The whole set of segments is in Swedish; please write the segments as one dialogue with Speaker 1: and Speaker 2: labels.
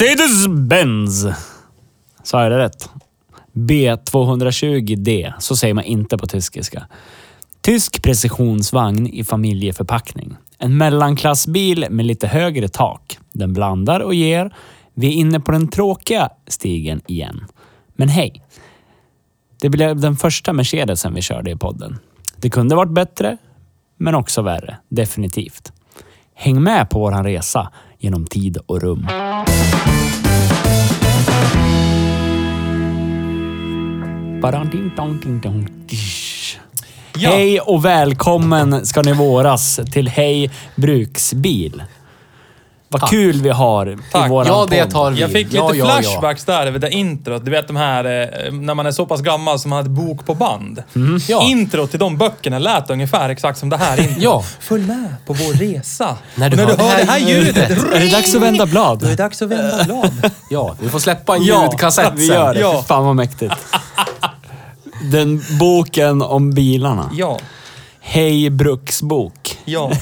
Speaker 1: Mercedes-Benz. Sa jag det rätt? B220D. Så säger man inte på tyskiska. Tysk precisionsvagn i familjeförpackning. En mellanklassbil med lite högre tak. Den blandar och ger. Vi är inne på den tråkiga stigen igen. Men hej. Det blev den första Mercedesen vi körde i podden. Det kunde varit bättre, men också värre. Definitivt. Häng med på vår resa genom tid och rum. Baranding-dong-ding-dong-dish.
Speaker 2: Ja.
Speaker 1: Hej och välkommen ska ni våras till Hej Bruksbil. Vad kul vi har
Speaker 2: Tack.
Speaker 1: i våran
Speaker 3: Ja, det
Speaker 1: podd.
Speaker 3: tar vi.
Speaker 4: Jag fick lite
Speaker 3: ja, ja, ja.
Speaker 4: flashbacks där över det introt. Du vet de här, eh, när man är så pass gammal som man hade bok på band.
Speaker 3: Mm. Ja.
Speaker 4: Intro till de böckerna lät ungefär exakt som det här introt.
Speaker 3: Ja.
Speaker 4: Följ med på vår resa.
Speaker 3: När du
Speaker 4: Och
Speaker 3: hör det här ljudet.
Speaker 1: Är det dags att vända blad?
Speaker 4: Då är det dags att vända blad.
Speaker 3: Ja, vi får släppa en
Speaker 1: Ja,
Speaker 3: ljudkassett sen.
Speaker 1: vi gör det.
Speaker 4: Ja.
Speaker 1: Fy Fan vad mäktigt. Den boken om bilarna.
Speaker 4: ja,
Speaker 1: Hej Bruksbok.
Speaker 4: ja.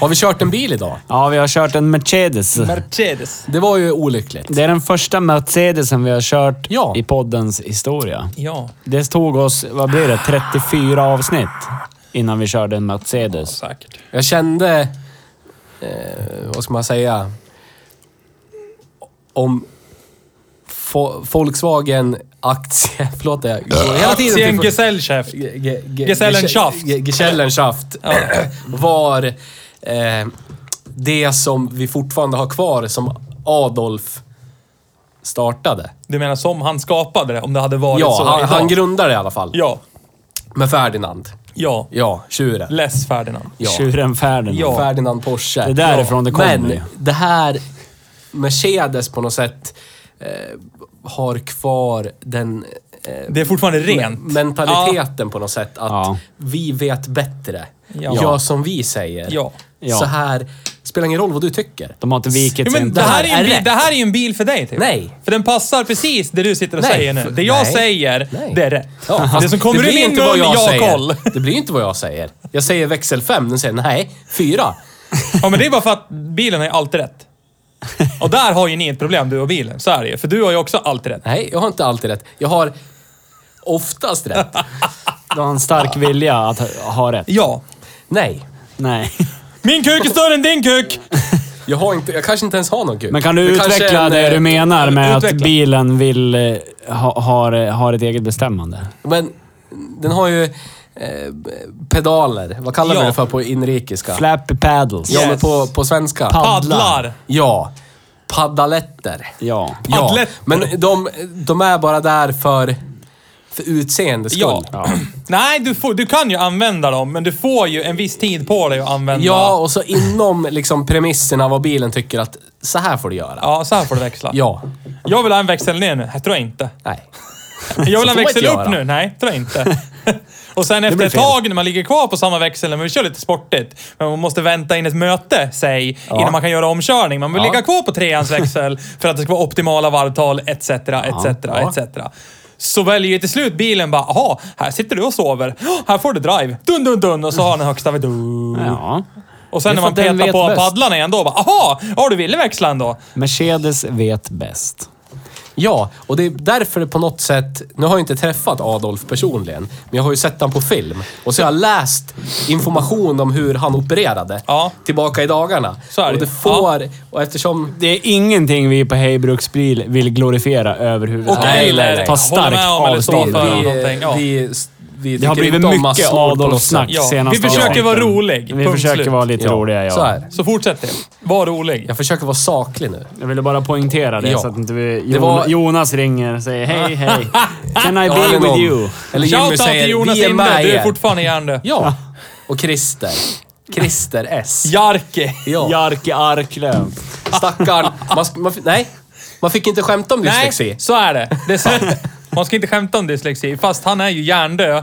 Speaker 3: Har vi kört en bil idag?
Speaker 1: Ja, vi har kört en Mercedes.
Speaker 4: Mercedes.
Speaker 3: Det var ju olyckligt.
Speaker 1: Det är den första Mercedesen vi har kört
Speaker 3: Ja.
Speaker 1: i poddens historia.
Speaker 4: Ja,
Speaker 1: Det tog oss, vad blir det, 34 avsnitt innan vi körde en Mercedes.
Speaker 4: säkert.
Speaker 3: Jag kände... Eh, vad ska man säga? Om fo- Volkswagen aktie... Förlåt, jag går hela tiden
Speaker 4: Aktien
Speaker 3: till-
Speaker 4: Gesellschaft.
Speaker 3: Ge- ge- ge-
Speaker 4: Gesellenschaft.
Speaker 3: Ge- Gesellenschaft var eh, det som vi fortfarande har kvar som Adolf startade.
Speaker 4: Du menar som han skapade det, om det hade varit
Speaker 3: Ja,
Speaker 4: så
Speaker 3: han,
Speaker 4: idag.
Speaker 3: han grundade det i alla fall.
Speaker 4: Ja,
Speaker 3: Med Ferdinand.
Speaker 4: ja.
Speaker 3: Ja, tjuren.
Speaker 4: Less Ferdinand.
Speaker 3: Ja.
Speaker 1: Tjuren Ferdinand.
Speaker 4: Ja.
Speaker 3: Ferdinand Porsche.
Speaker 1: Det är därifrån det kommer
Speaker 3: Men
Speaker 1: ju.
Speaker 3: det här Mercedes på något sätt eh, har kvar den eh,
Speaker 4: Det är fortfarande rent.
Speaker 3: me- mentaliteten på något sätt. Att
Speaker 1: Ja.
Speaker 3: vi vet bättre.
Speaker 4: Ja.
Speaker 3: Gör som vi säger.
Speaker 4: Ja.
Speaker 1: Ja.
Speaker 3: Så här, spelar ingen roll vad du tycker.
Speaker 1: De har inte
Speaker 4: Ja,
Speaker 1: vikit sig.
Speaker 4: men
Speaker 1: inte.
Speaker 4: det, här är en
Speaker 3: är
Speaker 4: bil,
Speaker 3: rätt.
Speaker 4: det här är ju en bil för dig, typ.
Speaker 3: Nej.
Speaker 4: För den passar precis det du sitter och
Speaker 3: Nej,
Speaker 4: säger nu.
Speaker 3: för-
Speaker 4: Det jag
Speaker 3: nej.
Speaker 4: säger,
Speaker 3: Nej.
Speaker 4: det är rätt.
Speaker 3: Ja,
Speaker 4: det
Speaker 3: fast
Speaker 4: som kommer
Speaker 3: blir
Speaker 4: ur min
Speaker 3: inte
Speaker 4: mun,
Speaker 3: vad
Speaker 4: jag har
Speaker 3: säger.
Speaker 4: koll.
Speaker 3: Det blir inte vad jag säger. Jag säger växel 5, den säger nej, 4.
Speaker 4: Ja, men det är bara för att bilen har ju alltid rätt. Och där har ju ni ett problem, du och bilen. Så är det ju. För du har ju också alltid rätt.
Speaker 3: Nej, jag har inte alltid rätt. Jag har oftast rätt.
Speaker 1: Du har en stark vilja att ha- ha rätt.
Speaker 4: Ja.
Speaker 3: Nej.
Speaker 1: Nej.
Speaker 4: Min kuk är större än din kuk!
Speaker 3: Jag, har inte, jag kanske inte ens har någon kul.
Speaker 1: Men kan du
Speaker 3: Det kanske
Speaker 1: utveckla
Speaker 3: är en,
Speaker 1: det du
Speaker 3: eh,
Speaker 1: menar med att
Speaker 4: utveckla.
Speaker 1: bilen vill eh, ha, har, har ett eget bestämmande?
Speaker 3: Men den har ju eh, pedaler. Vad kallar
Speaker 4: Ja.
Speaker 3: vi det för på inrikiska?
Speaker 1: Flappy paddles.
Speaker 3: Ja, men
Speaker 4: Yes.
Speaker 3: på, på svenska.
Speaker 1: Paddlar.
Speaker 4: Paddlar!
Speaker 3: ja. Paddaletter.
Speaker 1: Ja.
Speaker 3: Ja.
Speaker 4: Paddletter.
Speaker 3: Men de, de är bara där för, för utseendes skull.
Speaker 4: Ja. Nej, du, får, du kan ju använda dem, men du får ju en viss tid på dig att använda...
Speaker 3: Ja, och så inom liksom premisserna vad bilen tycker att så här får du göra.
Speaker 4: Ja, så här får du växla.
Speaker 3: Ja.
Speaker 4: Jag vill ha en växel ner nu. Jag tror jag inte.
Speaker 3: Nej.
Speaker 4: Jag vill ha
Speaker 3: Så får man
Speaker 4: växel
Speaker 3: inte
Speaker 4: upp
Speaker 3: göra.
Speaker 4: nu. Nej, tror jag inte. Och sen efter
Speaker 3: blir
Speaker 4: ett
Speaker 3: fel.
Speaker 4: tag när man ligger kvar på samma växel, men vi kör lite sportigt, men man måste vänta in ett möte, säg, innan man kan göra omkörning. Man vill
Speaker 3: Ja.
Speaker 4: ligga kvar på treans växel för att det ska vara optimala varvtal, etc, etc,
Speaker 3: Ja.
Speaker 4: etc. Så väljer ju till slut bilen bara, aha, här sitter du och sover. Här får du drive. Dun, dun, dun. Och så har den högsta vid...
Speaker 1: ja.
Speaker 4: Och sen
Speaker 1: Det
Speaker 4: när
Speaker 1: är för
Speaker 4: man
Speaker 1: att den
Speaker 4: petar
Speaker 1: vet
Speaker 4: på
Speaker 1: bäst.
Speaker 4: paddlarna igen då, bara, aha, ja du ville växla ändå.
Speaker 1: Mercedes vet bäst.
Speaker 3: Ja, och det är därför det på något sätt... Nu har jag inte träffat Adolf personligen, men jag har ju sett han på film. Och så har jag läst information om hur han opererade
Speaker 4: Ja.
Speaker 3: tillbaka i dagarna.
Speaker 4: Så är det
Speaker 3: Och det
Speaker 4: ju.
Speaker 3: får... Och eftersom...
Speaker 1: Det är ingenting vi på Hej Bruksbil vill glorifiera
Speaker 4: Och
Speaker 1: överhuvudtaget.
Speaker 3: Nej, nej, nej.
Speaker 1: Ta
Speaker 4: Håller
Speaker 1: starkt
Speaker 4: med om eller stå
Speaker 1: avstånd.
Speaker 4: för.
Speaker 1: från.
Speaker 4: någonting, ja.
Speaker 3: vi, vi vi
Speaker 1: Det har
Speaker 3: tycker
Speaker 1: blivit
Speaker 3: inte om
Speaker 1: mycket
Speaker 3: massmord på något
Speaker 1: Adolf-snack
Speaker 3: sätt.
Speaker 4: Ja,
Speaker 1: senaste
Speaker 4: vi försöker
Speaker 1: avsnitten.
Speaker 4: vara rolig,
Speaker 1: Vi
Speaker 4: punkt
Speaker 1: försöker
Speaker 4: slut.
Speaker 1: vara lite
Speaker 3: Ja,
Speaker 1: roliga, ja.
Speaker 3: så är det.
Speaker 4: Så fortsätt det. Var rolig.
Speaker 3: Jag försöker vara saklig nu.
Speaker 1: Jag ville bara poängtera det
Speaker 3: Ja.
Speaker 1: så att inte vi...
Speaker 3: Det
Speaker 1: Jon-
Speaker 3: var-
Speaker 1: Jonas ringer och säger hej, hej. Can I
Speaker 3: Ja,
Speaker 1: be
Speaker 3: eller
Speaker 1: with
Speaker 3: någon.
Speaker 1: you?
Speaker 3: Eller Jimmy
Speaker 4: Shoutout till
Speaker 3: säger,
Speaker 4: Jonas
Speaker 3: vi är
Speaker 4: Inde,
Speaker 3: med
Speaker 4: du är
Speaker 3: er.
Speaker 4: fortfarande hjärndö.
Speaker 3: Ja. Och Christer. Christer S.
Speaker 4: Jarke.
Speaker 3: Ja.
Speaker 1: Jarke Arklöv.
Speaker 3: Stackarn. Man, sk- man, fi- nej, man fick inte skämta om dyslexi.
Speaker 4: Nej, så är det. Det är sant. Man ska inte skämta om dyslexi, fast han är ju hjärndö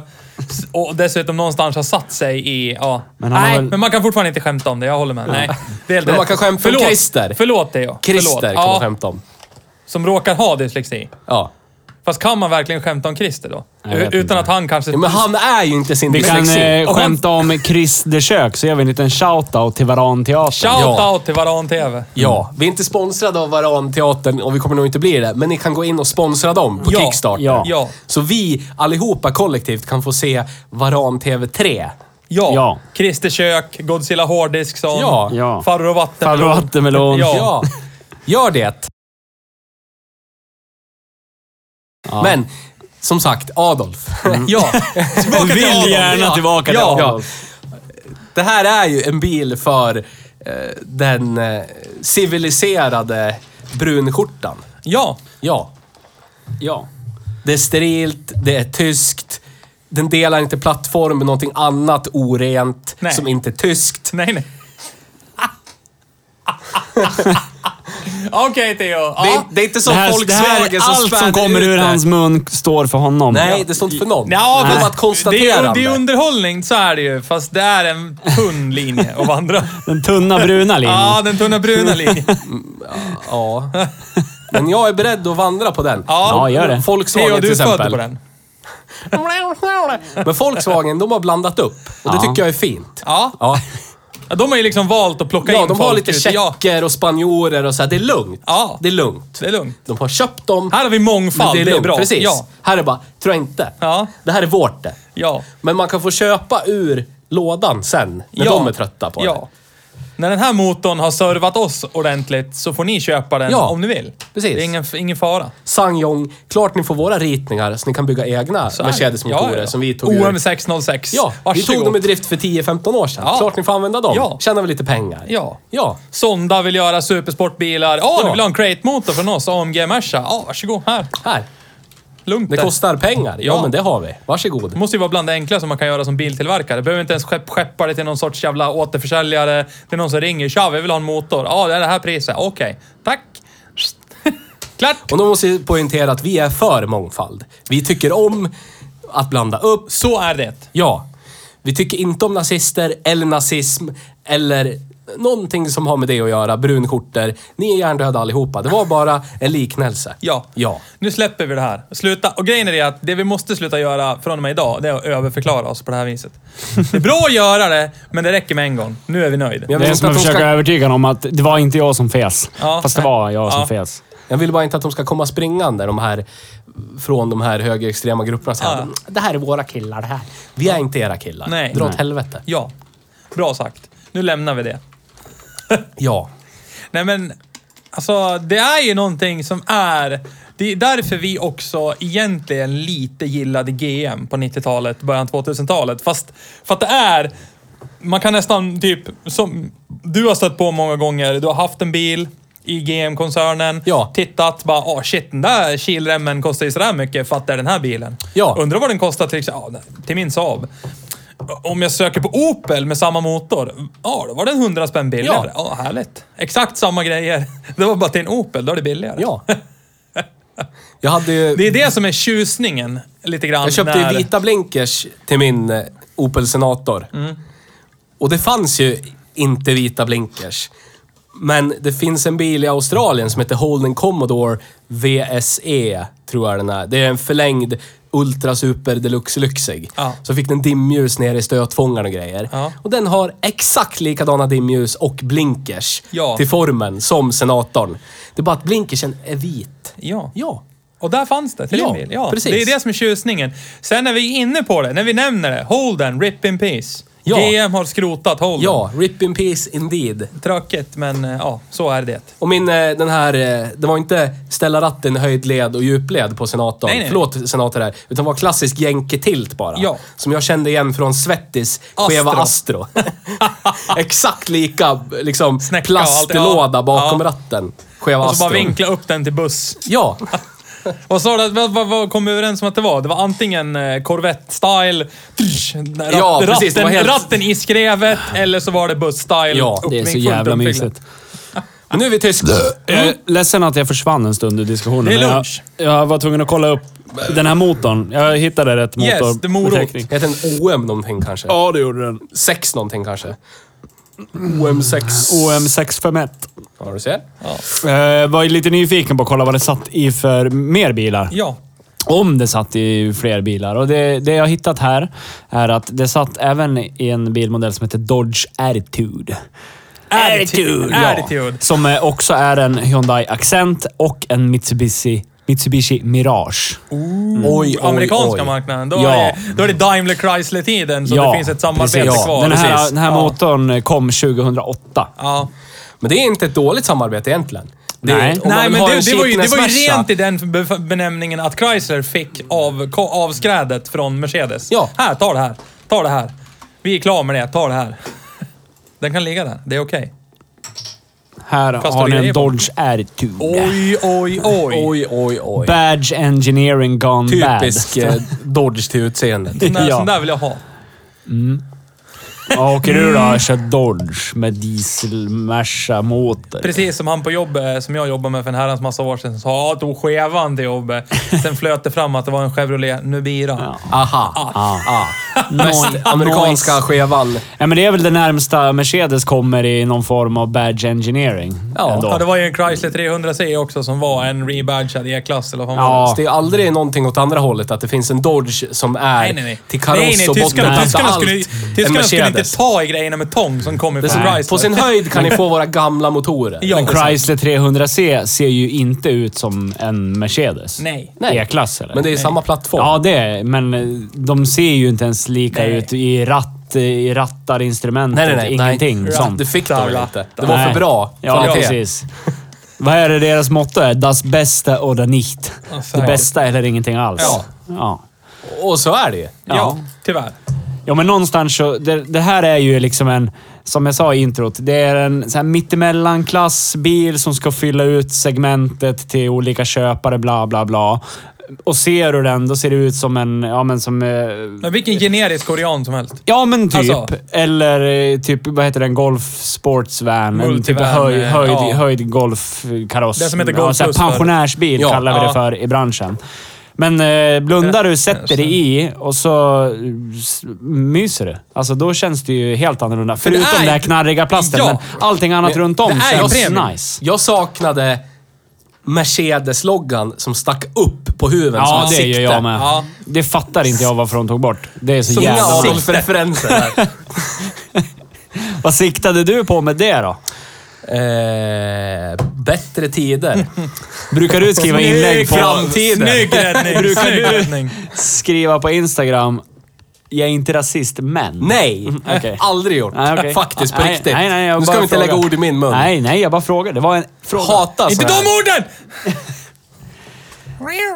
Speaker 4: s- och dessutom någonstans har satt sig i... Ja.
Speaker 1: Men han har
Speaker 4: Nej,
Speaker 1: väl-
Speaker 4: men man kan fortfarande inte skämta om det. Jag håller med. Nej, det är helt
Speaker 3: Men man
Speaker 4: rätt.
Speaker 3: kan skämta om
Speaker 4: Förlåt.
Speaker 3: Christer.
Speaker 4: Förlåt det, ja. Förlåt.
Speaker 3: Christer kan man
Speaker 4: ja,
Speaker 3: skämta om.
Speaker 4: Som råkar ha dyslexi.
Speaker 3: Ja.
Speaker 4: Fast kan man verkligen skämta om Christer då?
Speaker 1: Jag vet
Speaker 4: Utan
Speaker 1: inte.
Speaker 4: att han kanske...
Speaker 3: Ja, Men han är ju inte sin
Speaker 1: Vi kan
Speaker 3: dyslexi.
Speaker 1: eh,
Speaker 4: Och han-
Speaker 1: skämta om Chris de Kök så gör vi en liten shout-out till Varanteatern.
Speaker 4: Shoutout
Speaker 3: Ja.
Speaker 4: till Varan TV.
Speaker 3: Ja, vi är inte sponsrade av Varanteatern och vi kommer nog inte bli det. Men ni kan gå in och sponsra dem på
Speaker 4: Ja,
Speaker 3: Kickstarter.
Speaker 1: ja.
Speaker 4: Ja.
Speaker 3: Så vi allihopa kollektivt kan få se Varan TV 3.
Speaker 4: Ja.
Speaker 1: Ja.
Speaker 4: Christer Kök, Godzilla Hårddiskson,
Speaker 3: Ja.
Speaker 1: Ja.
Speaker 4: Farbror Vattenmelon.
Speaker 1: Farbror Vattenmelon.
Speaker 4: Ja.
Speaker 3: Ja, gör det. Men, som sagt, Adolf.
Speaker 4: ja. Tillbaka till
Speaker 3: Vill
Speaker 4: Adam.
Speaker 3: gärna
Speaker 4: Ja.
Speaker 1: tillbaka
Speaker 3: Ja.
Speaker 1: till
Speaker 3: ja.
Speaker 1: Adolf.
Speaker 3: Det här är ju en bil för eh, den eh, civiliserade brunskjortan.
Speaker 4: Ja.
Speaker 3: Ja.
Speaker 1: Ja.
Speaker 3: Det är sterilt, det är tyskt. Den delar inte plattform med någonting annat orent
Speaker 4: Nej.
Speaker 3: som inte är tyskt.
Speaker 4: Nej, nej. Okej, Theo.
Speaker 3: Det,
Speaker 4: Ja.
Speaker 3: är, det är inte
Speaker 1: Det
Speaker 3: som
Speaker 1: här, det här,
Speaker 3: Volkswagen som
Speaker 1: allt som
Speaker 3: späder
Speaker 1: kommer
Speaker 3: ut
Speaker 1: ur
Speaker 3: det.
Speaker 1: hans mun står för honom.
Speaker 3: Nej, det står inte för någon.
Speaker 4: Ja,
Speaker 3: det
Speaker 4: fast
Speaker 3: var ett
Speaker 4: det, är, det är
Speaker 3: konstaterande.
Speaker 4: underhållning, så är det ju. Fast det är en tunn linje att vandra.
Speaker 3: Mm.
Speaker 1: Den tunna bruna linjen.
Speaker 4: Ja, den tunna bruna linjen.
Speaker 3: Ja. Men jag är beredd att vandra på den.
Speaker 1: Ja,
Speaker 4: Ja.
Speaker 1: gör det.
Speaker 4: Theo,
Speaker 3: Volkswagen till
Speaker 4: du
Speaker 3: exempel.
Speaker 4: födde på den.
Speaker 3: Men Volkswagen, de har blandat upp. Och det
Speaker 1: Ja.
Speaker 3: tycker jag är fint.
Speaker 4: Ja.
Speaker 3: Ja,
Speaker 4: Ja, De har ju liksom valt att plocka
Speaker 3: ja
Speaker 4: in
Speaker 3: de har
Speaker 4: folk
Speaker 3: lite
Speaker 4: ute. Ja,
Speaker 3: tjecker och spanjorer och så här. Det är lugnt.
Speaker 4: Ja.
Speaker 3: Det är lugnt.
Speaker 4: det är lugnt.
Speaker 3: De har köpt dem.
Speaker 4: Här har vi mångfald. Det är,
Speaker 3: lugnt.
Speaker 4: bra.
Speaker 3: Precis.
Speaker 4: Ja.
Speaker 3: Här är bara, tror jag inte.
Speaker 4: Ja.
Speaker 3: Det här är vårt det.
Speaker 4: ja.
Speaker 3: Men man kan få köpa ur lådan sen, när de är trötta på
Speaker 4: ja. När den här motorn har servat oss ordentligt så får ni köpa den
Speaker 3: Ja.
Speaker 4: om ni vill.
Speaker 3: Precis.
Speaker 4: Det är ingen, ingen fara.
Speaker 3: det. Sangyong, klart ni får våra ritningar så ni kan bygga egna
Speaker 4: Så är det.
Speaker 3: Mercedes-motorer
Speaker 4: Ja, ja.
Speaker 3: som vi tog ur.
Speaker 4: OM 606.
Speaker 3: Ja, vi tog dem i drift för 10-15 år sedan.
Speaker 4: Ja.
Speaker 3: Klart ni får använda dem.
Speaker 4: Ja.
Speaker 3: Tjänar vi lite pengar.
Speaker 4: Ja.
Speaker 3: Ja.
Speaker 4: Sonda vill göra supersportbilar. Ja,
Speaker 3: Ja.
Speaker 4: du vill ha en crate-motor från oss? AMG Merca? Ja, varsågod. Här.
Speaker 3: Här.
Speaker 4: Lugnt
Speaker 3: Det
Speaker 4: där.
Speaker 3: kostar pengar. Ja,
Speaker 4: Ja.
Speaker 3: men det har vi. Varsågod.
Speaker 4: Det måste ju vara bland det enklaste man kan göra som biltillverkare. Behöver inte ens skepp, skeppa det till någon sorts jävla återförsäljare. Det är någon som ringer. Tja, vi vill ha en motor. Ja, det är det här priset. Okej, tack. Klart!
Speaker 3: Och då måste jag poängtera att vi är för mångfald. Vi tycker om att blanda upp.
Speaker 4: Så är det.
Speaker 3: Ja. Vi tycker inte om nazister eller nazism eller någonting som har med det att göra. Brunskjortor. Ni är hjärndöda allihopa. Det var bara en liknelse.
Speaker 4: Ja.
Speaker 3: Ja.
Speaker 4: Nu släpper vi det här. Sluta. Och grejen är det att det vi måste sluta göra från och med idag, det är att överförklara oss på det här viset. Det är bra att göra det, men det räcker med en gång. Nu är vi nöjda.
Speaker 3: Men jag
Speaker 1: Det
Speaker 3: vill
Speaker 1: är
Speaker 3: inte
Speaker 1: som att
Speaker 3: att de
Speaker 1: försöka
Speaker 3: ska...
Speaker 1: övertyga honom om att det var inte jag som fes.
Speaker 4: Ja.
Speaker 1: Fast det var jag som
Speaker 4: Ja.
Speaker 1: fes.
Speaker 3: Jag vill bara inte att de ska komma springande, de här från de här högerextrema grupperna. och säga,
Speaker 4: Ja.
Speaker 3: Det här är våra killar det här. Vi är inte era killar.
Speaker 4: Nej.
Speaker 3: Dra åt
Speaker 4: Nej.
Speaker 3: helvete.
Speaker 4: Ja, bra sagt. Nu lämnar vi det.
Speaker 3: Ja.
Speaker 4: Nej men, alltså det är ju någonting som är... Det är därför vi också egentligen lite gillade GM på 90-talet, början 2000-talet. Fast för att det är... Man kan nästan typ, som du har stött på många gånger, du har haft en bil i GM-koncernen,
Speaker 3: Ja.
Speaker 4: tittat bara ah shit, den där kilremmen kostar ju sådär mycket för att det är den här bilen.
Speaker 3: Ja.
Speaker 4: Undrar vad den kostar till, exempel- ja, till min Saab. Om jag söker på Opel med samma motor, ja då var den 100 spänn billigare.
Speaker 3: Ja.
Speaker 4: Ja. härligt. Exakt samma grejer. Det var bara till en Opel, då är det billigare.
Speaker 3: Ja. Jag hade ju...
Speaker 4: Det är det som är tjusningen lite grann.
Speaker 3: Jag köpte
Speaker 4: när-
Speaker 3: ju vita blinkers till min eh, Opel Senator.
Speaker 4: Mm.
Speaker 3: Och det fanns ju inte vita blinkers. Men det finns en bil i Australien som heter Holden Commodore VSE, tror jag den är. Det är en förlängd Ultra Super Deluxe Lyxig.
Speaker 4: Ja.
Speaker 3: Så fick den dimljus nere i stötfångaren och grejer.
Speaker 4: Ja.
Speaker 3: Och den har exakt likadana dimljus och blinkers
Speaker 4: Ja.
Speaker 3: till formen som Senatorn. Det är bara att blinkersen är vit.
Speaker 4: Ja.
Speaker 3: Ja.
Speaker 4: Och där fanns det till
Speaker 3: Ja,
Speaker 4: din bil. Ja,
Speaker 3: precis.
Speaker 4: Det är det som är tjusningen. Sen när vi är inne på det, när vi nämner det. Holden, RIP in peace.
Speaker 3: Ja.
Speaker 4: GM har skrotat Holden.
Speaker 3: Ja, rip in peace indeed.
Speaker 4: Tråkigt, men eh, ja, så är det.
Speaker 3: Och min, eh, den här, eh, det var inte ställa ratten i höjdled och djupled på senatorn.
Speaker 4: Nej, nej.
Speaker 3: Förlåt senator här. Utan var klassisk jänketilt bara.
Speaker 4: Ja.
Speaker 3: Som jag kände igen från Svettis skeva Astro. Exakt lika liksom
Speaker 4: Snäcka och allt,
Speaker 3: plastlåda
Speaker 4: ja.
Speaker 3: bakom
Speaker 4: Ja.
Speaker 3: ratten. Skeva
Speaker 4: Och så
Speaker 3: Astro.
Speaker 4: bara vinkla upp den till buss.
Speaker 3: Ja.
Speaker 4: Och så vad, vad, vad kom vi överens om att det var? Det var antingen eh, Corvette-style, tsch, rat-
Speaker 3: Ja, precis, det
Speaker 4: ratten,
Speaker 3: var helt-
Speaker 4: ratten i skrevet, eller så var det buss-style.
Speaker 3: Ja,
Speaker 1: Det är
Speaker 4: uppvink-
Speaker 1: så
Speaker 4: fullt
Speaker 1: jävla
Speaker 4: uppfyllda.
Speaker 1: mysigt.
Speaker 3: Men nu är vi tyska.
Speaker 1: Jag är ledsen att jag försvann en stund i diskussionen.
Speaker 4: Det är
Speaker 1: men jag,
Speaker 4: lunch.
Speaker 1: jag var tvungen att kolla upp den här motorn. Jag hittade rätt
Speaker 4: Yes,
Speaker 1: motor.
Speaker 4: det är morot.
Speaker 1: beteckning.
Speaker 3: Heter den OM någonting kanske?
Speaker 1: Ja, det gjorde den.
Speaker 3: Sex någonting kanske? OM6.
Speaker 1: OM651.
Speaker 3: Ja, du ser.
Speaker 4: Ja.
Speaker 1: Eh, var ju lite nyfiken på att kolla vad det satt i för mer bilar.
Speaker 4: ja.
Speaker 1: Om det satt i fler bilar. Och det, det jag har hittat här är att det satt även i en bilmodell som heter Dodge Attitude.
Speaker 4: Attitude,
Speaker 1: Ja.
Speaker 4: attitude.
Speaker 1: Som eh, också är en Hyundai Accent och en Mitsubishi, Mitsubishi Mirage. Mm.
Speaker 3: Oj, oj,
Speaker 4: Amerikanska
Speaker 3: oj.
Speaker 4: marknaden. Då,
Speaker 1: Ja.
Speaker 4: är, det- då är det Daimler Chrysler-tiden, så det finns ett samarbete
Speaker 1: precis.
Speaker 4: kvar.
Speaker 1: Den här,
Speaker 3: precis.
Speaker 1: den här
Speaker 4: Ja.
Speaker 1: motorn kom 2008.
Speaker 4: Ja.
Speaker 3: Men det är inte ett dåligt samarbete egentligen. Det är-
Speaker 1: Nej.
Speaker 3: om man
Speaker 4: Nej,
Speaker 3: vill
Speaker 4: men
Speaker 3: ha
Speaker 4: det,
Speaker 3: en
Speaker 4: det, var ju, det var ju
Speaker 3: Kina-smasha-
Speaker 4: rent i den bef- benämningen att Chrysler fick av, ko- avskrädet från Mercedes.
Speaker 3: Ja.
Speaker 4: Här, ta det här. Ta det här. Vi är klara med det. Ta det här. Den kan ligga där. Det är okej.
Speaker 1: Här
Speaker 4: Kastar
Speaker 1: har ni
Speaker 4: du
Speaker 1: en
Speaker 4: grejer på den?
Speaker 1: Dodge Attitude.
Speaker 4: Oj, oj, oj.
Speaker 3: Oj, oj, oj.
Speaker 1: Badge Engineering Gone
Speaker 3: Typisk
Speaker 1: Bad.
Speaker 3: eh, Dodge till utseendet.
Speaker 4: Sån där,
Speaker 1: Ja.
Speaker 4: sån där vill jag ha.
Speaker 1: Ja, åker du då och kör Dodge med diesel Merca motor
Speaker 4: Precis som han på jobbet, eh, som jag jobbade med för en herrans massa år sedan, sa att tog skevan till jobbet. Sen flöt det fram att det var en Chevrolet Nubira.
Speaker 3: Aha. Ah. Ah. Mest amerikanska
Speaker 1: Nice.
Speaker 3: skevan.
Speaker 1: Ja, men det är väl det närmsta Mercedes kommer i någon form av Badge Engineering.
Speaker 3: Ja,
Speaker 1: ändå.
Speaker 4: Ja, det var ju en Chrysler 300C också som var en rebadgad E-klass eller vad fan var
Speaker 1: Ja.
Speaker 4: det?
Speaker 3: Så Det är aldrig någonting åt andra hållet, att det finns en Dodge som är
Speaker 4: Nej, nej, nej.
Speaker 3: till kaross
Speaker 4: nej, nej,
Speaker 3: och
Speaker 4: tyskarna,
Speaker 3: bottenplatta
Speaker 4: tyskarna,
Speaker 3: allt.
Speaker 4: skulle,
Speaker 3: en
Speaker 4: tyskarna skulle inte
Speaker 3: Mercedes.
Speaker 4: ta i grejerna med tång som kommer
Speaker 3: Det
Speaker 4: från
Speaker 3: är så-
Speaker 4: Chrysler.
Speaker 3: På sin höjd kan ni få våra gamla motorer.
Speaker 4: Ja.
Speaker 1: Men Chrysler 300C ser ju inte ut som en Mercedes.
Speaker 4: Nej.
Speaker 3: Nej.
Speaker 1: E-klass eller?
Speaker 3: Men det är samma plattform.
Speaker 1: Ja, det är men eh, de ser ju inte ens lika
Speaker 4: Nej.
Speaker 1: ut i, ratt, i rattar, instrumentet,
Speaker 3: Nej, nej, nej.
Speaker 1: ingenting
Speaker 3: nej.
Speaker 1: sånt.
Speaker 3: Du fick dem väl
Speaker 4: Där,
Speaker 3: inte?
Speaker 4: där.
Speaker 3: Det var
Speaker 1: Nej.
Speaker 3: för bra
Speaker 1: Ja,
Speaker 3: kvalitet.
Speaker 1: precis. Vad är det deras motto är? Das Beste oder nicht.
Speaker 4: säkert.
Speaker 1: Det bästa eller ingenting alls.
Speaker 4: Ja.
Speaker 1: Ja.
Speaker 3: Och så är det ju.
Speaker 4: Ja,
Speaker 1: Ja.
Speaker 4: tyvärr.
Speaker 1: Ja, men någonstans så... Det, det här är ju liksom en... Som jag sa i introt, det är en så här mittemellanklassbil som ska fylla ut segmentet till olika köpare, bla bla bla. Och ser du den, då ser det ut som en... Ja, men som... eh,
Speaker 4: Men vilken generisk korean som helst.
Speaker 1: Ja, men typ.
Speaker 4: Alltså-
Speaker 1: Eller eh, typ, vad heter den? Golf Sportsvan. En typ av
Speaker 4: Multivan,
Speaker 1: höj,
Speaker 4: eh,
Speaker 1: höjd,
Speaker 4: ja.
Speaker 1: höjd golfkaross.
Speaker 4: Det som heter
Speaker 1: Ja,
Speaker 4: Golf
Speaker 1: så här
Speaker 4: Plus förr.
Speaker 1: Pensionärsbil
Speaker 3: Ja,
Speaker 1: kallar vi
Speaker 4: ja.
Speaker 1: det för i branschen. Men eh, blundar du, sätter dig i och så eh, s- myser du. Alltså då känns det ju helt annorlunda. Förutom
Speaker 4: är-
Speaker 1: den där knarriga plasten.
Speaker 4: Ja.
Speaker 1: Men allting annat
Speaker 3: Men
Speaker 1: runt om
Speaker 3: det är
Speaker 1: känns
Speaker 3: ju premium.
Speaker 1: nice.
Speaker 3: Jag saknade Mercedes-loggan som stack upp på huven som
Speaker 1: Ja,
Speaker 3: ett
Speaker 1: Alltså, det
Speaker 3: sikte.
Speaker 1: gör jag med.
Speaker 4: Ja.
Speaker 1: Det fattar inte jag varför de tog bort. Det är så,
Speaker 3: Så
Speaker 1: jävla...
Speaker 3: många
Speaker 4: Sikte.
Speaker 3: Adolf-referenser här.
Speaker 1: Vad siktade du på med det då?
Speaker 3: Eh, bättre tider.
Speaker 1: Brukar du skriva inlägg på...
Speaker 3: framtiden.
Speaker 4: Snygg räddning!
Speaker 1: Brukar
Speaker 4: snygg
Speaker 1: du-
Speaker 4: räddning.
Speaker 1: skriva på Instagram jag är inte rasist, men...
Speaker 3: Nej!
Speaker 1: okej.
Speaker 3: Aldrig gjort.
Speaker 1: Nej, okej.
Speaker 3: Faktiskt, på
Speaker 1: Nej,
Speaker 3: riktigt.
Speaker 1: Nej, nej, jag
Speaker 3: nu ska
Speaker 1: bara
Speaker 3: vi inte
Speaker 1: frågar.
Speaker 3: lägga ord i min mun.
Speaker 1: Nej, nej, jag bara frågar. Det var en fråga.
Speaker 3: Hata
Speaker 4: Inte
Speaker 3: såna
Speaker 4: de
Speaker 3: här.
Speaker 4: orden!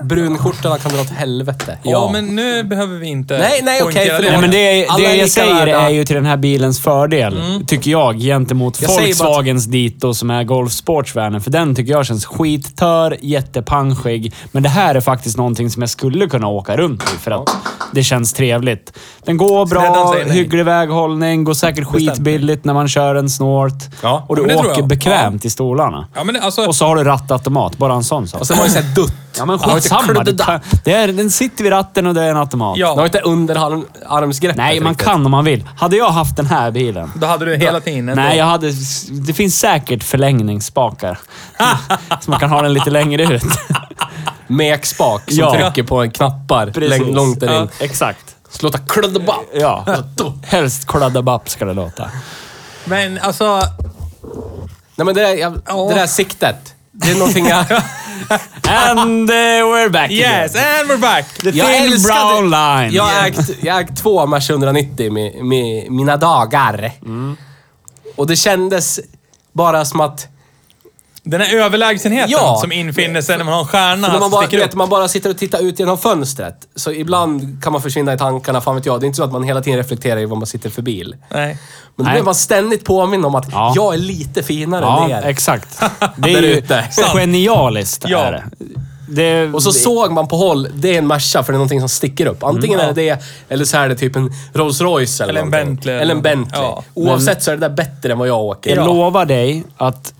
Speaker 3: Brunskjortorna kan dra åt helvete.
Speaker 4: Ja. men nu behöver vi inte
Speaker 3: Nej, nej, okej,
Speaker 4: poängtera
Speaker 3: förlåt.
Speaker 1: Nej, men det,
Speaker 3: Alla
Speaker 1: det
Speaker 3: är
Speaker 1: jag
Speaker 3: lika
Speaker 1: säger
Speaker 3: värda. Mm.
Speaker 1: är ju till den här bilens fördel, tycker jag, gentemot
Speaker 3: Jag säger bara att-
Speaker 1: Volkswagens dito som är Golf Sportsvanen. För den tycker jag känns skittör, jättepanschig. Men det här är faktiskt någonting som jag skulle kunna åka runt i för att det känns trevligt. Den går
Speaker 4: Skräddaren
Speaker 1: bra,
Speaker 4: säger nej.
Speaker 1: hygglig väghållning, går säkert skitbilligt när man kör en snort.
Speaker 3: Ja,
Speaker 1: Och du
Speaker 4: men det tror
Speaker 1: åker
Speaker 4: jag.
Speaker 1: bekvämt i stolarna.
Speaker 4: Ja, men alltså,
Speaker 1: Och så har du rattautomat, bara en sån sak.
Speaker 3: Och sen var det såhär dutt.
Speaker 1: Ja men
Speaker 3: Det var inte
Speaker 1: skitsamma.
Speaker 3: kludd-
Speaker 1: Det, det är, den sitter vid ratten och det är en automat.
Speaker 4: Ja.
Speaker 3: Det var inte underarmsgreppet
Speaker 1: Nej, man
Speaker 3: riktigt.
Speaker 1: kan om man vill. Hade jag haft den här bilen...
Speaker 4: då hade du hela tiden ändå.
Speaker 1: Nej, jag hade... Det finns säkert förlängningsspakar. så man kan ha den lite längre ut.
Speaker 3: Mekspak som
Speaker 1: Ja.
Speaker 3: trycker på knappar läng- långt där in.
Speaker 1: Exakt.
Speaker 3: Så låter kluddebapp.
Speaker 1: Ja. Helst kladdabapp ska det låta.
Speaker 4: Men alltså,
Speaker 3: Nej men det där, jag, det där siktet. Det är någonting jag...
Speaker 1: And eh, we're back
Speaker 4: Yes,
Speaker 1: again.
Speaker 4: and we're back!
Speaker 1: The thin brown line.
Speaker 3: Jag har ägt, jag har ägt två Merca 190 med, med mina dagar. Och det kändes bara som att...
Speaker 4: Den här överlägsenheten
Speaker 3: Ja.
Speaker 4: som infinner sig när man har en stjärna
Speaker 3: För när man,
Speaker 4: som
Speaker 3: bara,
Speaker 4: sticker upp.
Speaker 3: vet, man bara sitter och tittar ut genom fönstret. Så ibland kan man försvinna i tankarna, fan vet jag. Det är inte så att man hela tiden reflekterar i vad man sitter för bil.
Speaker 4: Nej.
Speaker 3: Men då
Speaker 1: Nej.
Speaker 3: blir man ständigt påminn om att
Speaker 1: Ja.
Speaker 3: jag är lite finare
Speaker 1: Ja,
Speaker 3: än er.
Speaker 1: exakt. Det är
Speaker 3: Där
Speaker 1: ju
Speaker 3: ute.
Speaker 1: genialiskt.
Speaker 4: Ja.
Speaker 1: Är det. Det,
Speaker 3: Och så såg man på håll, det är en Merca för det är någonting som sticker upp. Antingen är det det, eller så är det typ en Rolls Royce eller,
Speaker 4: Eller en
Speaker 3: någonting.
Speaker 4: Bentley.
Speaker 3: Eller en Bentley.
Speaker 4: Ja.
Speaker 3: Oavsett så är det där bättre än vad jag åker.
Speaker 1: jag lovar dig att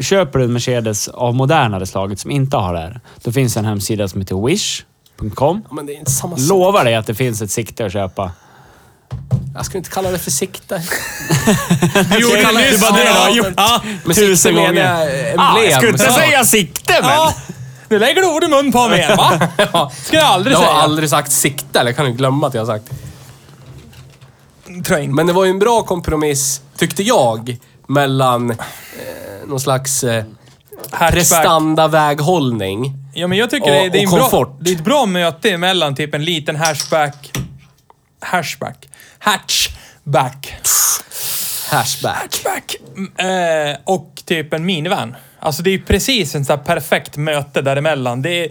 Speaker 1: köper du en Mercedes av modernare slaget som inte har det här, då finns det en hemsida som heter wish.com.
Speaker 3: Ja, Men det är inte samma sak.
Speaker 1: Lovar dig att det finns ett sikte att köpa.
Speaker 3: Jag skulle inte kalla det för sikte.
Speaker 4: Du
Speaker 1: det
Speaker 4: gjorde
Speaker 1: är
Speaker 4: nyss
Speaker 1: bara det du har
Speaker 4: Ja,
Speaker 1: gjort.
Speaker 4: Ja,
Speaker 3: Men
Speaker 1: Tusen
Speaker 3: sikte
Speaker 1: gånger.
Speaker 3: menar jag eh, emblem.
Speaker 1: Ah, jag skulle inte
Speaker 3: så.
Speaker 1: säga sikte, men...
Speaker 4: ja. Nu lägger du ord i mun på mig igen, va?
Speaker 3: Ja.
Speaker 4: Ska jag aldrig
Speaker 3: Jag har
Speaker 4: säga.
Speaker 3: aldrig sagt sikte, eller jag kan ju glömma att jag har sagt.
Speaker 4: Tror jag inte.
Speaker 3: Men det var ju en bra kompromiss, tyckte jag, mellan eh, någon slags eh,
Speaker 4: Hatchback.
Speaker 3: prestandaväghållning.
Speaker 4: Ja, men jag tycker
Speaker 3: Och-
Speaker 4: det, är- det, är
Speaker 3: och
Speaker 4: en bra,
Speaker 3: komfort.
Speaker 4: det är ett bra möte mellan typ en liten hashback... Hashback? Hatchback.
Speaker 3: Hashback.
Speaker 4: Hatchback. Mm, eh, och typ en minivan. Alltså det är ju precis en sån här perfekt möte däremellan. Det är,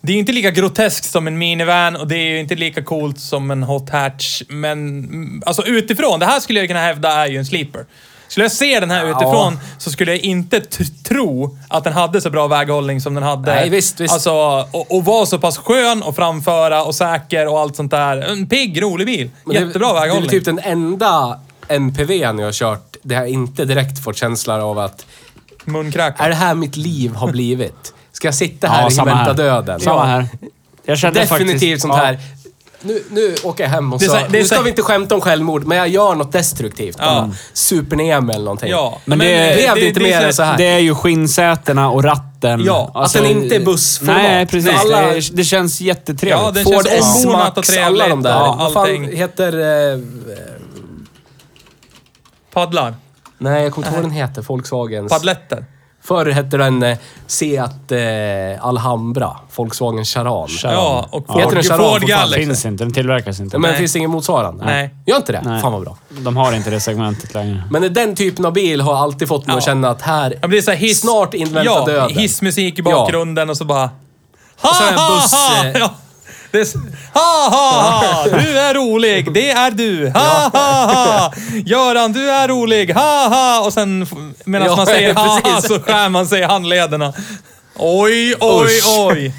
Speaker 4: det är ju inte lika groteskt som en minivan och det är ju inte lika coolt som en hot hatch. Men mm, alltså utifrån, det här skulle jag kunna hävda är ju en sleeper. Skulle jag se den här utifrån så skulle jag inte t- tro att den hade så bra väghållning som den hade.
Speaker 3: Nej, visst, visst.
Speaker 4: Alltså, och, och var så pass skön att framföra och säker och allt sånt där. En pigg, rolig bil.
Speaker 3: Men det-
Speaker 4: Jättebra
Speaker 3: Det är
Speaker 4: väghållning.
Speaker 3: väl typ den enda MPVn jag har kört där jag inte direkt fått känslan av att
Speaker 4: Munkrack.
Speaker 3: är det här mitt liv har blivit? Ska jag sitta
Speaker 1: Ja,
Speaker 3: här och
Speaker 1: samma
Speaker 3: vänta
Speaker 1: här.
Speaker 3: döden?
Speaker 1: Samma
Speaker 3: Ja.
Speaker 1: här. Jag kände
Speaker 3: Definitivt
Speaker 1: faktiskt,
Speaker 3: sånt
Speaker 1: ja.
Speaker 3: här. Nu, nu åker jag hem och
Speaker 4: Det är
Speaker 3: så,
Speaker 4: så- det är
Speaker 3: nu ska
Speaker 4: så-
Speaker 3: vi inte skämta om självmord, men jag gör något destruktivt. Ja. Super ner mig eller någonting.
Speaker 4: Ja,
Speaker 1: Men det-
Speaker 4: eh,
Speaker 1: det
Speaker 3: är väl inte mer
Speaker 4: här-
Speaker 3: än så här.
Speaker 1: Det är ju skinnsätena och ratten. Alltså,
Speaker 4: Ja,
Speaker 3: att den inte är bussformat.
Speaker 1: Nej, precis.
Speaker 3: Nej. Alla-
Speaker 1: Det, det känns jättetrevligt.
Speaker 4: Ja, den
Speaker 3: Ford
Speaker 4: känns ombonat och
Speaker 3: S-Max, alla de
Speaker 4: trevligt
Speaker 3: där.
Speaker 4: och
Speaker 3: Vad fan
Speaker 4: allting.
Speaker 3: heter... Eh,
Speaker 4: Paddlar.
Speaker 3: nej, jag kommer inte ihåg vad den heter. Volkswagens.
Speaker 4: Paddletter.
Speaker 3: Förr hette den eh, Seat eh, Alhambra. Volkswagen Charan.
Speaker 4: Ja, och
Speaker 3: Ja. Heter
Speaker 4: Ford,
Speaker 3: den Charan
Speaker 4: Ford
Speaker 3: fortfarande?
Speaker 1: Den
Speaker 4: Galaxy.
Speaker 1: finns inte. Den tillverkas inte.
Speaker 3: Men
Speaker 4: Nej.
Speaker 3: finns det ingen motsvarande?
Speaker 4: Nej.
Speaker 3: Gör inte det?
Speaker 1: Nej.
Speaker 3: Fan vad bra.
Speaker 1: De har inte det segmentet längre.
Speaker 3: Men den typen av bil har alltid fått mig att
Speaker 4: Ja.
Speaker 3: känna att här...
Speaker 4: Ja, men det är så här hiss,
Speaker 3: Snart invänta
Speaker 4: ja,
Speaker 3: döden.
Speaker 4: hissmusik i bakgrunden och så bara... Ha,
Speaker 3: så är det en
Speaker 4: ha,
Speaker 3: buss,
Speaker 4: ha.
Speaker 3: eh.
Speaker 4: Ja. Det är, s- ha, ha, ha! Du är rolig, det är du! Ha, ha, ha! Göran, du är rolig! Ha, ha! Och sen f- medan
Speaker 3: Ja,
Speaker 4: man säger ha, ha
Speaker 3: precis.
Speaker 4: så skär man sig i handlederna. Oj, oj,
Speaker 3: Usch.
Speaker 4: oj!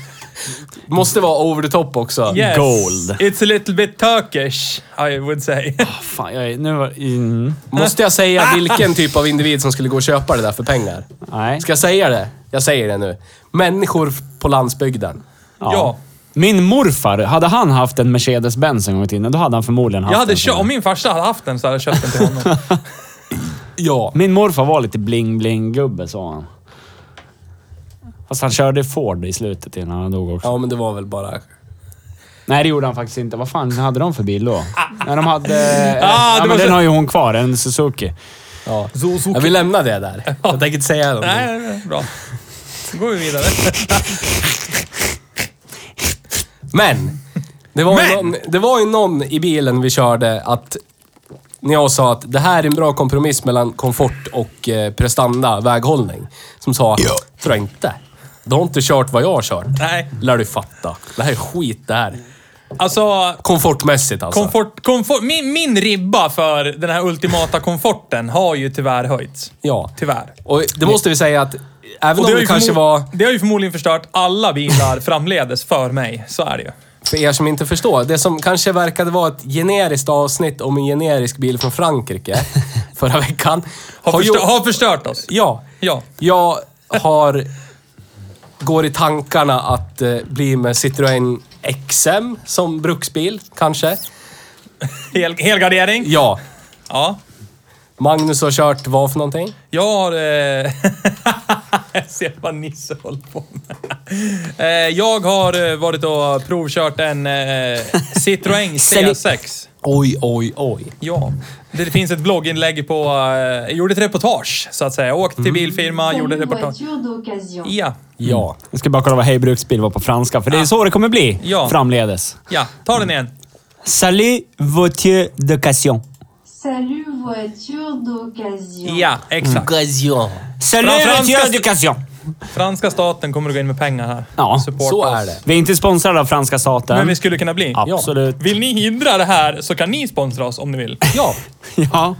Speaker 3: Måste vara over the top också.
Speaker 4: Yes.
Speaker 1: Gold.
Speaker 4: It's a little bit Turkish, I would say.
Speaker 1: Ah, Fan, jag är... Nu var... Mm.
Speaker 3: Måste jag säga vilken typ av individ som skulle gå och köpa det där för pengar?
Speaker 1: Nej.
Speaker 3: Ska jag säga det? Jag säger det nu. Människor på landsbygden.
Speaker 4: ja.
Speaker 1: Min morfar, hade han haft en Mercedes-Benz en gång i tiden, då hade han förmodligen haft
Speaker 4: Jag hade
Speaker 1: en sån
Speaker 4: kö-
Speaker 1: här.
Speaker 4: om min farsa hade haft den så hade jag köpt den till honom.
Speaker 3: Ja.
Speaker 1: Min morfar var lite bling-bling-gubbe, sa han. Fast han körde Ford i slutet innan han dog också.
Speaker 3: Ja, men det var väl bara...
Speaker 1: Nej, det gjorde han faktiskt inte. Vad fan hade de för bil då? Nej, de hade... eh,
Speaker 4: Ah,
Speaker 1: ja,
Speaker 4: det
Speaker 1: men
Speaker 4: var
Speaker 1: den
Speaker 4: så-
Speaker 1: har ju hon kvar, en Suzuki.
Speaker 3: Ja. Jag vill lämna det där. Jag tänker inte säga någonting.
Speaker 4: Nej, nej, nej, bra. Då går vi vidare.
Speaker 3: Men! Det var, Ju någon, det var ju någon i bilen vi körde att... När jag sa att det här är en bra kompromiss mellan komfort och eh, prestanda, väghållning. Som sa, tror jag inte. Du har inte kört vad jag har kört.
Speaker 4: Nej.
Speaker 3: Lär du fatta. Det här är skit det här.
Speaker 4: Alltså,
Speaker 3: Komfortmässigt alltså.
Speaker 4: komfort, komfort, min, min ribba för den här ultimata komforten har ju tyvärr höjts.
Speaker 3: Ja.
Speaker 4: Tyvärr.
Speaker 3: Och det måste vi säga att även om
Speaker 4: har
Speaker 3: det
Speaker 4: ju
Speaker 3: kanske
Speaker 4: förmo-
Speaker 3: var,
Speaker 4: det har ju förmodligen förstört alla bilar framledes för mig. Så är det ju.
Speaker 3: för er som inte förstår, det som kanske verkade vara ett generiskt avsnitt om en generisk bil från Frankrike förra veckan.
Speaker 4: Har, förstö-
Speaker 3: gjort-
Speaker 4: har förstört oss.
Speaker 3: Ja.
Speaker 4: Ja.
Speaker 3: Jag har... Går i tankarna att eh, bli med Citroën XM som bruksbil, kanske.
Speaker 4: Hel, helgardering.
Speaker 3: Ja.
Speaker 4: Ja.
Speaker 3: Magnus har kört vad för någonting?
Speaker 4: Jag har... Eh... jag ser vad Nisse håller på med. Eh, jag har eh, varit och provkört en eh, Citroën C6.
Speaker 3: Oj, oj, oj.
Speaker 4: Ja, det finns ett blogginlägg på... eh, Jag gjorde ett reportage, så att säga. Jag åkte
Speaker 3: Mm.
Speaker 4: till bilfirma, gjorde
Speaker 5: Salut,
Speaker 4: reportage.
Speaker 5: voiture d'occasion.
Speaker 4: Ja,
Speaker 3: Ja.
Speaker 1: Jag ska bara kolla vad Hej Bruksbil var på franska, för det är så det kommer bli
Speaker 4: Ja.
Speaker 1: framledes.
Speaker 4: ja. Ta den igen.
Speaker 1: Salut voiture d'occasion.
Speaker 5: Salut voiture d'occasion.
Speaker 4: Ja,
Speaker 3: Mm.
Speaker 4: exakt.
Speaker 3: Occasion.
Speaker 1: Salut
Speaker 4: Franska-
Speaker 1: voiture d'occasion.
Speaker 4: Franska staten kommer att gå in med pengar här.
Speaker 1: Ja,
Speaker 4: Support
Speaker 3: Så
Speaker 4: oss.
Speaker 3: är det.
Speaker 1: Vi är inte sponsrade av franska staten.
Speaker 4: Men vi skulle kunna bli.
Speaker 1: Absolut.
Speaker 4: Vill ni hindra det här så kan ni sponsra oss om ni vill.
Speaker 3: Ja.
Speaker 1: Ja.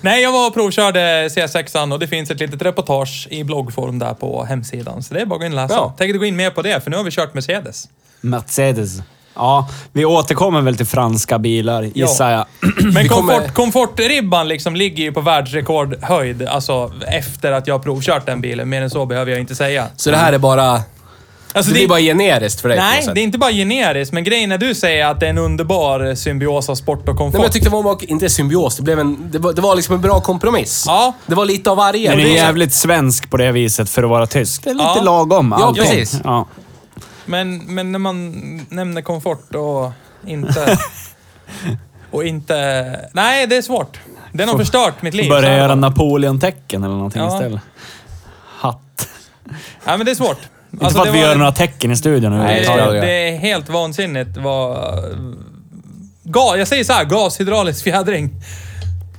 Speaker 4: Nej, jag var och provkörde C6an och det finns ett litet reportage i bloggform där på hemsidan. Så det är bara att gå in och läsa.
Speaker 3: Ja.
Speaker 4: Tänkte gå in mer på det, för nu har vi kört Mercedes.
Speaker 1: Mercedes. Ja, vi återkommer väl till franska bilar, gissar jag.
Speaker 4: Men
Speaker 3: Mm. Vi kommer-
Speaker 4: komfort, komfortribban liksom ligger ju på världsrekordhöjd. Alltså efter att jag har provkört den bilen. Mer än så behöver jag inte säga.
Speaker 3: Så det här är bara...
Speaker 4: Mm. Alltså,
Speaker 3: det blir bara generiskt för dig på något
Speaker 4: Nej,
Speaker 3: sätt.
Speaker 4: det är inte bara generiskt. Men grejen när du säger att det är en underbar symbios av sport och komfort.
Speaker 3: Nej, men jag tyckte det var en- inte symbios. Det, blev en, det, var, det var liksom en bra kompromiss.
Speaker 4: Ja.
Speaker 3: Det var lite av varje.
Speaker 1: Den är
Speaker 3: Det var-
Speaker 1: jävligt svensk på det viset för att vara tysk. Det är lite
Speaker 4: Ja.
Speaker 1: lagom
Speaker 3: Ja,
Speaker 1: allting.
Speaker 3: precis.
Speaker 1: Ja.
Speaker 4: Men, men när man nämner komfort och inte... Och inte... Nej, det är svårt. Den har förstört mitt liv.
Speaker 1: Börja
Speaker 4: så-
Speaker 1: göra Napoleon-tecken eller någonting
Speaker 4: Ja.
Speaker 1: istället. Hatt.
Speaker 4: Ja, men Alltså, det är svårt.
Speaker 1: inte för att vi gör några tecken i studion
Speaker 4: det,
Speaker 3: Nej, det
Speaker 1: överhuvudtaget.
Speaker 3: är-
Speaker 4: det är helt vansinnigt vad... Ga, jag säger så här, gashydraulisk fjädring.